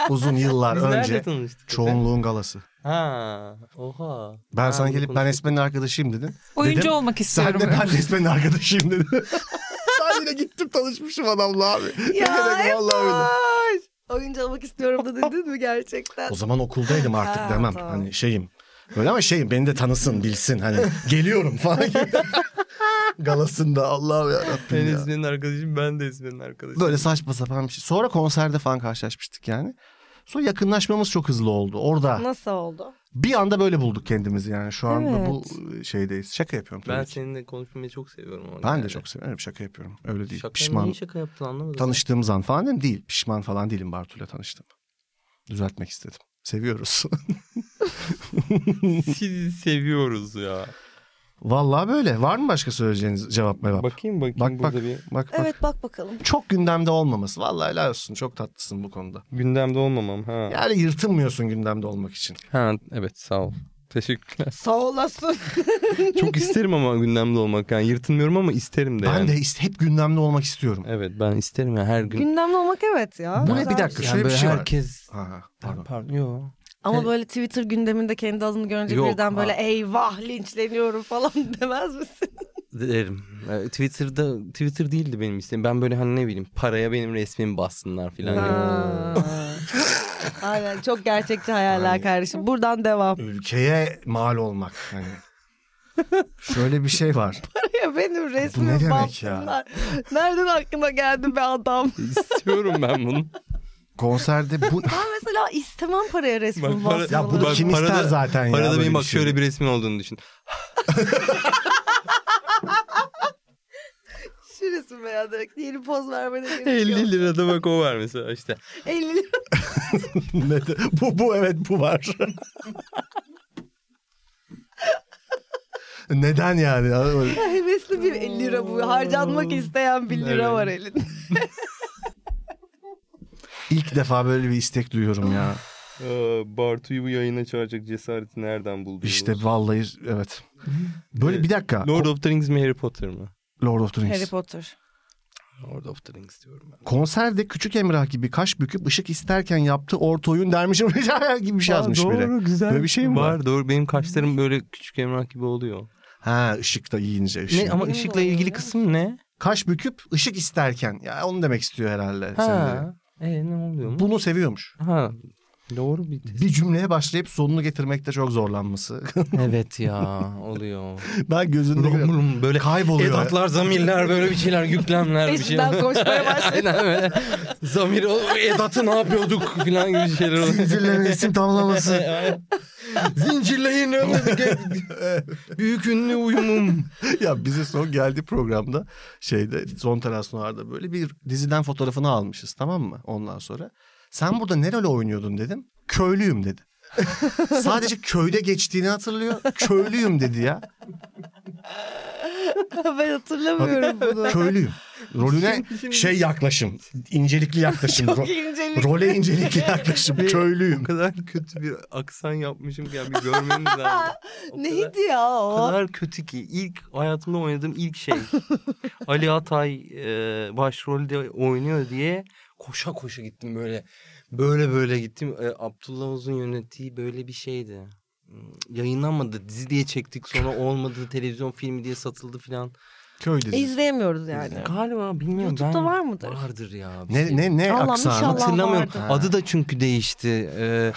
S4: Uzun yıllar
S2: Biz
S4: önce
S2: nerede tanıştık? Efe?
S4: çoğunluğun galası.
S2: Ha, oha.
S4: Ben
S2: Ha,
S4: sana
S2: bunu
S4: gelip ben
S2: konuştuk.
S4: Esmen'in arkadaşıyım dedin.
S5: Oyuncu
S4: Dedim,
S5: olmak
S4: Sen
S5: istiyorum.
S4: de ben Esmen'in arkadaşıyım dedin. ben yine gittim tanışmışım adamla abi. Ne
S8: Ya,
S4: gerek vallahi öyle.
S8: Ay, Oyuncu olmak istiyorum da dedin mi gerçekten?
S1: (laughs)
S4: O zaman okuldaydım artık
S8: Ha,
S4: demem.
S8: tamam.
S4: Hani şeyim. Böyle ama şeyim beni de tanısın bilsin hani geliyorum (laughs) falan gibi. Galasında Allah'ım yarabbim
S2: Sen
S4: ya.
S2: Esmer'in arkadaşım ben de Esmer'in arkadaşım.
S4: Böyle saçma sapan bir şey. Sonra konserde falan karşılaşmıştık yani. Sonra yakınlaşmamız çok hızlı oldu. Orada
S3: Nasıl oldu?
S4: bir anda böyle bulduk kendimizi yani şu anda bu şeydeyiz. Şaka yapıyorum tabii
S2: Ben
S4: ki.
S2: seninle konuşmayı çok seviyorum. ama
S4: Ben de
S2: yani.
S4: çok seviyorum şaka yapıyorum. Öyle değil.
S2: Şaka
S4: Pişman
S2: Niye şaka yaptın anlamadım.
S4: tanıştığımız an falan değil, mi? değil. Pişman falan değilim Bartu'yla tanıştım. Düzeltmek istedim. Seviyoruz.
S2: (laughs)
S4: (laughs)
S2: Sizi seviyoruz ya.
S4: Vallahi böyle. Var mı başka söyleyeceğiniz cevap mevap?
S2: Bakayım bakayım
S4: Bak,
S2: burada bir
S4: Bak bak.
S3: Evet bak bakalım.
S4: Çok gündemde olmaması. Vallahi helal olsun. Çok tatlısın bu konuda.
S2: gündemde olmamam ha.
S4: Yani yırtınmıyorsun gündemde olmak için.
S2: Ha evet sağ ol.
S4: (laughs)
S2: Teşekkürler.
S8: Sağ olasın.
S2: çok isterim ama gündemde olmak yani yırtınmıyorum ama isterim de
S4: Ben
S2: yani.
S4: de ist- hep gündemde olmak istiyorum.
S2: Evet ben isterim ya her gün.
S3: Gündemde olmak evet ya.
S4: Bu ne
S3: Güzel
S4: bir dakika
S3: şey.
S2: Yani
S4: şöyle bir
S2: böyle
S4: şey var.
S2: herkes
S4: Ha,
S2: pardon.
S4: pardon.
S2: pardon. Yo.
S3: Ama böyle Twitter gündeminde kendi adını görünce
S2: Yok,
S3: birden böyle
S2: ha.
S3: eyvah linçleniyorum falan (laughs) demez misin?
S2: Derim. Ee, Twitter'da Twitter değildi benim isteğim. Ben böyle hani ne bileyim paraya benim resmimi bassınlar filan.
S4: (laughs)
S3: Ha. Aynen çok gerçekçi hayaller
S4: Yani-
S3: kardeşim. Buradan devam.
S4: Ülkeye mal olmak. Hani.
S2: (laughs)
S4: şöyle bir şey var.
S3: Ya (laughs) benim resmim
S4: demek ya?
S3: baksınlar. Nereden aklına geldi be adam?
S2: İstiyorum ben bunu.
S4: Konserde
S3: (laughs)
S4: bu...
S3: Ben mesela istemem paraya
S2: Bak
S3: resmimi
S2: para-
S3: baksınlar.
S4: ya bunu
S2: Bak,
S4: kim ister
S2: parada-
S4: zaten
S2: (laughs)
S4: ya?
S2: Parada
S4: böyle
S2: benim
S4: bir
S2: bak
S4: şey?
S2: şöyle bir resmin olduğunu düşün.
S8: Şu resim veya direkt yeni poz vermene gerek
S4: şey
S8: yok.
S2: 50 lirada bak o var mesela işte.
S8: 50
S3: (laughs)
S8: lira.
S4: Ne de- bu, bu evet bu var. Neden yani?
S8: Hevesli bir 50 lira bu. Harcanmak isteyen 1 lira var elinde.
S4: İlk defa böyle bir istek duyuyorum ya.
S2: Ee, Bartu'yu bu yayına çağıracak cesareti nereden buldun?
S4: İşte vallahi evet. Böyle
S2: Evet.
S4: bir dakika.
S2: Lord of the Rings mi Harry Potter mı?
S4: Lord of the Rings.
S3: Harry Potter.
S2: Lord of the Rings diyorum ben.
S4: Konserde Küçük Emrah gibi kaş büküp ışık isterken yaptığı orta oyun dermişim (laughs) gibi bir şey yazmış
S2: doğru,
S4: biri.
S2: güzel.
S4: Böyle bir şey mi var?
S2: Doğru benim kaşlarım böyle küçük emrak gibi oluyor.
S4: Ha ışıkta yiyince ışık.
S2: Ne ama
S3: Benim de
S2: ışıkla
S3: oluyor,
S2: ilgili
S3: biliyor
S2: kısım ne?
S4: Kaş büküp ışık isterken. Ya onu demek istiyor herhalde.
S2: Ha.
S4: sende.
S2: E ne oluyor mu?
S4: Bunu seviyormuş.
S2: Ha. Doğru bir
S4: Bir cümleye başlayıp sonunu getirmekte çok zorlanması. (laughs)
S2: evet ya oluyor.
S4: ben gözünde
S2: Rum rum böyle
S4: kayboluyor. (laughs)
S2: edatlar, zamirler böyle bir şeyler, yüklemler bir şey.
S3: Peşinden koşmaya
S2: (laughs)
S3: başladı.
S2: Aynen öyle. Zamir o edatı ne yapıyorduk filan gibi şeyler oluyor.
S4: Zincirleme
S2: (laughs)
S4: isim tamlaması.
S2: Aynen. (laughs) Zincirleyin önündeki büyük ünlü uyumum.
S4: ya bize son geldi programda şeyde son terasnolarda böyle bir diziden fotoğrafını almışız tamam mı ondan sonra. Sen burada ne rol oynuyordun dedim. Köylüyüm dedi. Sadece köyde geçtiğini hatırlıyor. Köylüyüm dedi ya.
S3: ben hatırlamıyorum bunu.
S4: Köylüyüm. Rolüne şey yaklaşım. incelikli yaklaşım. Ro-
S3: İncelik.
S4: role incelikli yaklaşım.
S2: (laughs) O
S4: Köylüyüm.
S2: kadar kötü bir aksan yapmışım ki yani bir görmeniz lazım. O kadar-
S8: Neydi ya
S2: O
S8: o?
S2: kadar kötü ki ilk hayatımda oynadığım ilk
S3: (laughs)
S2: şey. Ali Atay e, başrolde oynuyor diye koşa koşa gittim böyle. Böyle böyle gittim. E, Abdullah Uzun yönettiği böyle bir şeydi. Hmm, Yayınlanmadı dizi diye çektik sonra olmadı televizyon filmi diye satıldı filan.
S4: Köy dizisi.
S3: İzleyemiyoruz E, yani.
S2: Galiba bilmiyorum.
S3: YouTube'da
S2: ben-
S3: var mıdır?
S2: Vardır ya. bir
S4: Ne
S2: şey.
S4: ne ne
S3: Allah'ım
S4: aksanı.
S3: inşallah.
S2: Hatırlamıyorum.
S3: vardı.
S2: Adı da çünkü değişti. Ee,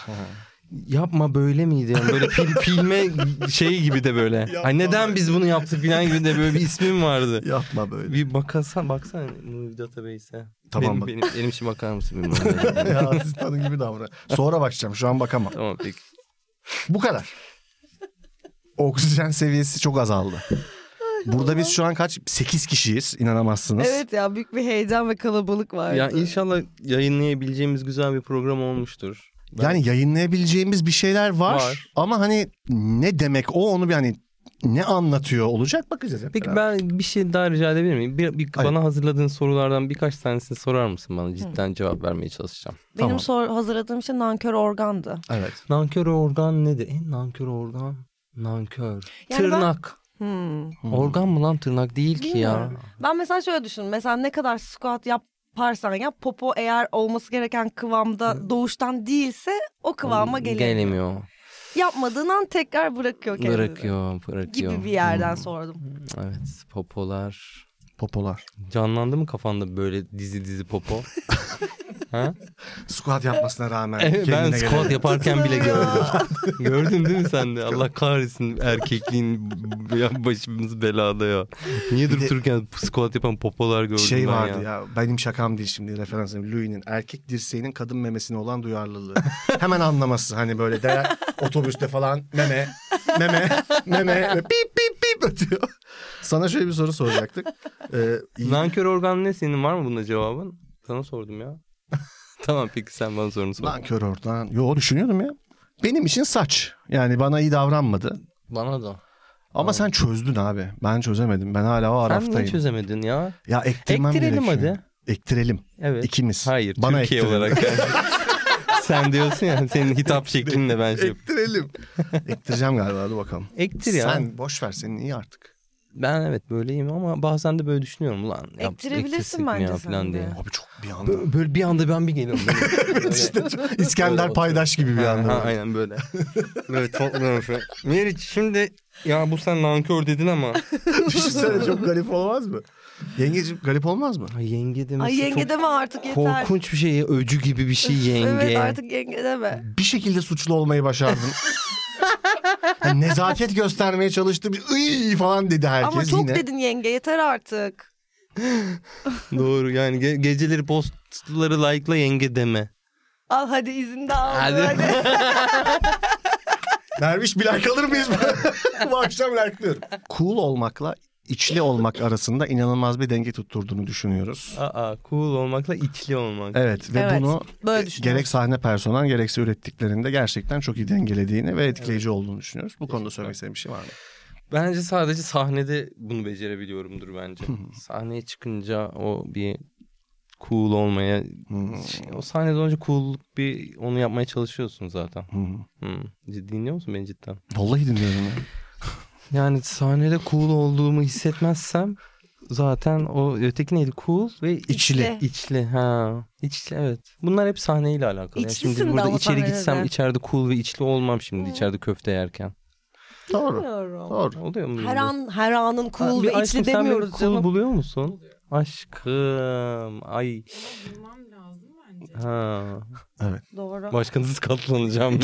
S2: yapma böyle miydi? Yani böyle (laughs) fil, filme şey gibi de böyle. Ay neden biz bunu yaptık falan gibi de böyle bir ismim vardı.
S4: Yapma böyle.
S2: Bir bakasan baksana Movie Database'e.
S4: Tamam
S2: benim,
S4: bak.
S2: benim, benim için bakar mısın (laughs) bilmiyorum.
S4: ya asistanın gibi davran. Sonra bakacağım. Şu an bakamam.
S2: tamam peki.
S4: Bu kadar. Oksijen seviyesi çok azaldı. Burada biz şu an kaç? 8 kişiyiz. inanamazsınız.
S3: Evet ya büyük bir heyecan ve kalabalık vardı.
S2: Ya inşallah yayınlayabileceğimiz güzel bir program olmuştur. Ben-
S4: Yani yayınlayabileceğimiz bir şeyler var,
S2: Var.
S4: ama hani ne demek o onu bir hani ne anlatıyor olacak bakacağız hep
S2: Peki
S4: beraber.
S2: ben bir şey daha rica edebilir miyim? Bir, bir-
S4: Hayır.
S2: bana hazırladığın sorulardan birkaç tanesini sorar mısın bana? Cidden cevap vermeye çalışacağım.
S4: Tamam.
S3: Benim sor hazırladığım şey nankör organdı.
S4: Evet.
S2: Nankör organ nedir? En nankör organ nankör.
S3: Yani ben-
S2: tırnak.
S3: Hmm.
S2: Organ mı lan tırnak değil ki ya.
S3: Bilmiyorum. Ben mesela şöyle düşündüm. Mesela ne kadar squat yaparsan yap popo eğer olması gereken kıvamda doğuştan değilse o kıvama gelemiyor.
S2: Gelemiyor.
S3: Yapmadığın an tekrar bırakıyor kendini.
S2: Bırakıyor, bırakıyor. Hmm.
S3: Gibi bir yerden sordum.
S2: Evet, popolar.
S4: Popolar.
S2: Canlandı mı kafanda böyle dizi dizi popo? ha?
S4: Squat yapmasına
S2: (laughs)
S4: rağmen
S2: Evet, ben
S4: kendine
S2: squat
S4: gelen-
S2: yaparken bile gördüm. Gördün değil mi sen de? Allah kahretsin erkekliğin ya başımız belada ya. Niye durup dururken squat yapan popolar gördüm
S4: şey
S2: ben
S4: vardı
S2: ya.
S4: ya. benim şakam değil şimdi referansım Louis'nin erkek dirseğinin kadın memesine
S2: (laughs)
S4: olan duyarlılığı. Hemen anlaması hani böyle de otobüste falan meme meme meme ve pip pip pip atıyor. Sana şöyle bir soru soracaktık. Ee, iyi-
S2: Nankör organ ne senin var mı bunda cevabın? Sana sordum ya. (laughs) tamam peki sen bana sorunu sor.
S4: Nankör oradan. Yo düşünüyordum ya. Benim için saç. Yani bana iyi davranmadı.
S2: Bana da.
S4: Ama sen çözdün abi. Ben çözemedim. Ben hala o
S2: Sen niye
S4: araftayım.
S2: çözemedin ya?
S4: ya ektirmem
S2: Ektirelim
S4: gerekiyor.
S2: hadi.
S4: Ektirelim.
S2: Evet.
S4: İkimiz.
S2: Hayır
S4: Bana
S2: Türkiye
S4: ektirelim.
S2: (laughs) olarak. yani. sen diyorsun ya senin hitap şeklinle ben şey yap-
S4: Ektirelim. Ektireceğim galiba hadi bakalım.
S2: Ektir ya.
S4: Sen boş ver senin
S2: (laughs)
S4: iyi artık.
S2: Ben evet böyleyim ama bazen de böyle düşünüyorum ulan. yap-
S3: Ektirebilirsin
S2: ektirsek mi
S3: bence
S2: ya
S3: sen
S2: falan
S3: de.
S2: diye.
S4: Abi çok bir anda.
S2: Bö- Böyle bir anda ben bir geliyorum. (laughs) evet
S4: işte İskender paydaş gibi bir anda.
S2: Ha, aynen böyle. böyle topluyorum şu. Meriç şimdi ya bu sen nankör dedin ama.
S4: Düşünsene çok garip olmaz mı? Yengeciğim garip olmaz mı?
S2: Ay yenge demesi
S3: Ay yenge
S2: çok
S3: deme artık yeter.
S2: korkunç bir şey. Öcü gibi bir şey yenge.
S3: Evet artık yenge deme.
S4: Bir şekilde suçlu
S2: (laughs)
S4: olmayı başardın. Yani nezaket göstermeye çalıştı. Bir "Iy" falan dedi herkes
S3: Ama çok
S4: yine.
S3: dedin yenge yeter artık.
S2: Doğru yani ge- geceleri postları like'la yenge deme.
S3: Al hadi izin de al.
S2: Hadi. (laughs)
S3: Hadi.
S4: Derviş bir like alır mıyız? (laughs) Bu akşam like'lıyorum. Cool olmakla içli olmak arasında inanılmaz bir denge tutturduğunu düşünüyoruz.
S2: Aa cool olmakla içli olmak.
S4: Evet ve
S3: Evet.
S4: bunu
S3: Böyle
S4: E,
S3: düşünüyorum.
S4: gerek sahne personel gerekse ürettiklerinde gerçekten çok iyi dengelediğini ve etkileyici olduğunu düşünüyoruz. Bu konuda söylemek istediğim bir şey var mı?
S2: Bence sadece sahnede bunu becerebiliyorumdur bence. Sahneye çıkınca o bir cool olmaya şey- o sahnede olunca cool bir onu yapmaya çalışıyorsun zaten. Hı. Dinliyor musun beni cidden?
S4: Vallahi dinliyorum ya.
S2: Yani sahnede cool olduğumu hissetmezsem zaten o öteki neydi? Cool ve
S4: İçli.
S2: içli ha. İçli evet. Bunlar hep sahneyle alakalı. Yani
S3: İçlisin
S2: şimdi
S3: de Hmm.
S2: burada
S3: ama
S2: içeri
S3: sahnede
S2: gitsem
S3: de.
S2: içeride cool ve içli olmam şimdi içeride köfte yerken.
S4: Doğru.
S3: Bilmiyorum.
S4: Doğru.
S2: Oluyor mu?
S3: Her
S2: bu?
S3: an her anın cool
S2: Bir
S3: ve
S2: aşkım sen
S3: içli
S2: beni
S3: demiyoruz
S2: cool
S3: canım.
S2: buluyor musun? Aşkım. Ay. Ha.
S3: Doğru. (laughs)
S2: Başkanısız
S4: (laughs)
S2: katlanacağım.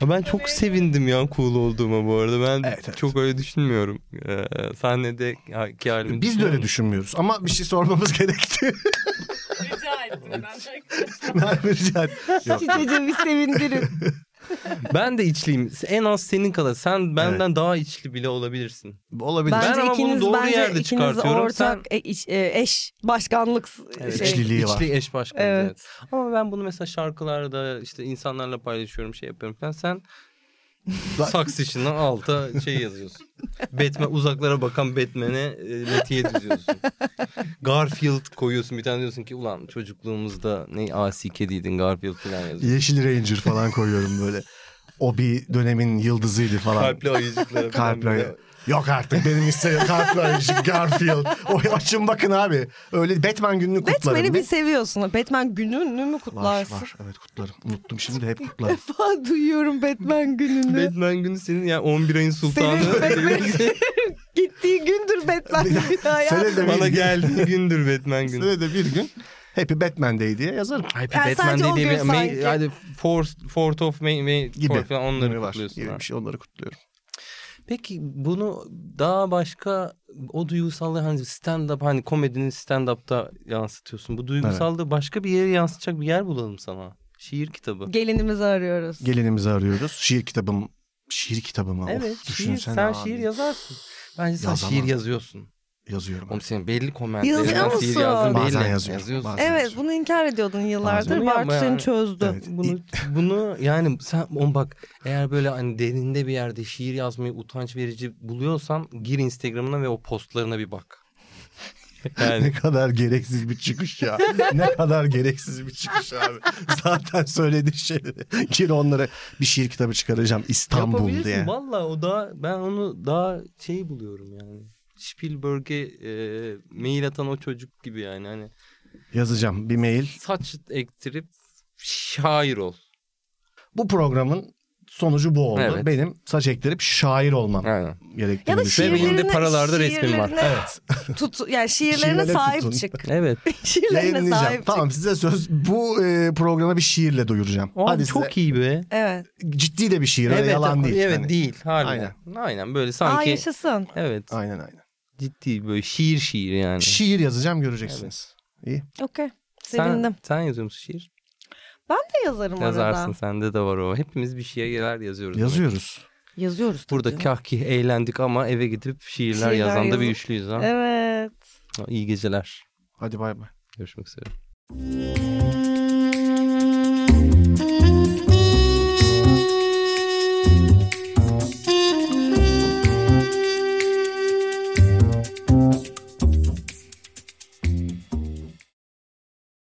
S2: Ya ben çok sevindim ya cool olduğuma bu arada. Ben
S4: Evet, evet.
S2: çok öyle düşünmüyorum. Ee, sahnede ki halimi
S4: Biz de öyle düşünmüyoruz ama bir şey sormamız (laughs) gerekti.
S5: Rica ettim ben.
S4: Ben rica ederim. Yok.
S3: Çiçeği bir sevindirin.
S2: Ben de içliyim. En az senin kadar. Sen benden daha içli bile olabilirsin.
S4: Olabilir.
S2: Ben
S3: Bence
S2: ama bunu
S3: ikiniz
S2: doğru
S3: bence
S2: yerde
S3: ikiniz
S2: çıkartıyorum.
S3: ortak e, iç- e, eş başkanlık s-
S2: Evet.
S3: şey.
S4: İçliliği var.
S2: İçli eş başkanı.
S3: Evet.
S2: Evet. Ama ben bunu mesela şarkılarda işte insanlarla paylaşıyorum şey yapıyorum falan. Sen saks içinden alta şey yazıyorsun. Batman uzaklara bakan Batman'e e, metiye düzüyorsun. Garfield koyuyorsun bir tane diyorsun ki ulan çocukluğumuzda ne asi kediydin Garfield falan yazıyorsun.
S4: Yeşil Ranger falan koyuyorum böyle. O bir dönemin yıldızıydı falan.
S2: Kalpli ayıcıklara falan.
S4: Kalpli.
S2: böyle.
S4: ayı. Yok artık benim istediğim kalpli ayıcık Garfield. O açın bakın abi. Öyle Batman gününü kutlarım.
S3: Batman'i bir
S4: Ne?
S3: seviyorsun. Batman gününü mü
S4: Var
S3: kutlarsın?
S4: var evet kutlarım. Unuttum şimdi de hep kutlarım.
S3: Falan (laughs) duyuyorum Batman gününü.
S2: Batman günü senin yani 11 ayın sultanı.
S3: Senin Batman (laughs) gittiği gündür Batman günü hayatım.
S4: Senede
S2: Bana
S4: bir gün-
S2: geldiği gündür Batman günü.
S4: Senede bir gün Happy Batman Day diye yazarım.
S2: Happy
S3: Yani
S2: Batman
S3: sadece
S2: değil
S3: o
S2: de
S3: gün
S2: May,
S3: sanki.
S2: hadi Fourth, Fourth of May, May
S4: Gibi.
S2: Fourth falan onları
S4: Bunları var.
S2: kutluyorsun.
S4: Gibi
S2: ha.
S4: bir şey onları kutluyorum.
S2: Peki bunu daha başka o duygusallığı hani stand up hani komedinin stand up'ta yansıtıyorsun. Bu duygusallığı başka bir yere yansıtacak bir yer bulalım sana. Şiir kitabı.
S3: Gelinimizi arıyoruz.
S4: Gelinimizi arıyoruz. Şiir kitabım. Şiir kitabımı.
S2: Evet,
S4: of,
S2: şiir.
S4: düşünsene
S2: Sen
S4: abi.
S2: şiir yazarsın. Bence sen
S4: Yazamam.
S2: şiir yazıyorsun.
S4: yazıyorum.
S2: Oğlum senin belli komentleri
S3: Yazıyor
S2: nasıl
S3: musun?
S2: yazdın belli.
S4: Bazen yazıyorum,
S2: Yazıyorsun.
S4: bazen.
S3: Evet bunu inkar ediyordun yıllardır.
S2: Bunu
S3: Bartu
S2: yapma ya.
S3: seni çözdü.
S4: Evet.
S2: Bunu, (laughs) bunu yani sen on bak eğer böyle hani derinde bir yerde şiir yazmayı utanç verici buluyorsan gir Instagram'ına ve o postlarına bir (laughs) bak. Yani (laughs)
S4: (laughs) Ne kadar gereksiz bir çıkış ya. ne kadar gereksiz bir çıkış abi. Zaten söylediği şeyleri. Gir onlara bir şiir kitabı çıkaracağım İstanbul
S2: yapabilirsin
S4: diye.
S2: valla o daha ben onu daha şey buluyorum yani. Spielberg'e e, mail atan o çocuk gibi yani hani
S4: Yazacağım bir mail.
S2: saç ektirip şair ol.
S4: Bu programın sonucu bu oldu.
S2: Evet.
S4: Benim saç ektirip şair olmam
S2: Aynen.
S4: gerektiğini
S3: Ya da
S4: düşünüyorum.
S2: Ve benim de
S3: şiirlerine,
S2: paralarda resmim var.
S3: şiirlerine Tut, yani şiirlerine
S4: Şiirlere
S3: sahip
S4: tutun.
S3: çık. (laughs)
S2: Evet.
S3: şiirlerine
S4: Yayınlayacağım.
S3: sahip çık.
S4: Tamam size söz. Bu e, programa bir şiirle duyuracağım.
S2: Abi
S4: Hadi
S2: çok
S4: size.
S2: iyi be.
S3: Evet.
S4: Ciddi de bir şiir. öyle yalan değil.
S2: Evet
S4: Hani-
S2: değil. Harbiden. Aynen. böyle sanki.
S3: Aa yaşasın.
S2: evet.
S4: Aynen aynen.
S2: Ciddi böyle şiir şiir yani.
S4: Şiir yazacağım göreceksiniz.
S3: Okey.
S2: sen,
S3: Sevindim.
S2: Sen yazıyor musun şiir?
S3: Ne yazarım
S2: Yazarsın
S3: arada?
S2: sende de var o. Hepimiz bir şiirler yazıyoruz.
S4: Yazıyoruz.
S3: Yazıyoruz. tabii
S2: Burada
S3: canım.
S2: kahkih eğlendik ama eve gidip şiirler,
S3: Şiirler
S2: yazan da bir
S3: yazın.
S2: üçlüyüz ha.
S3: Evet.
S2: İyi geceler.
S4: Hadi bay bay.
S2: Görüşmek üzere.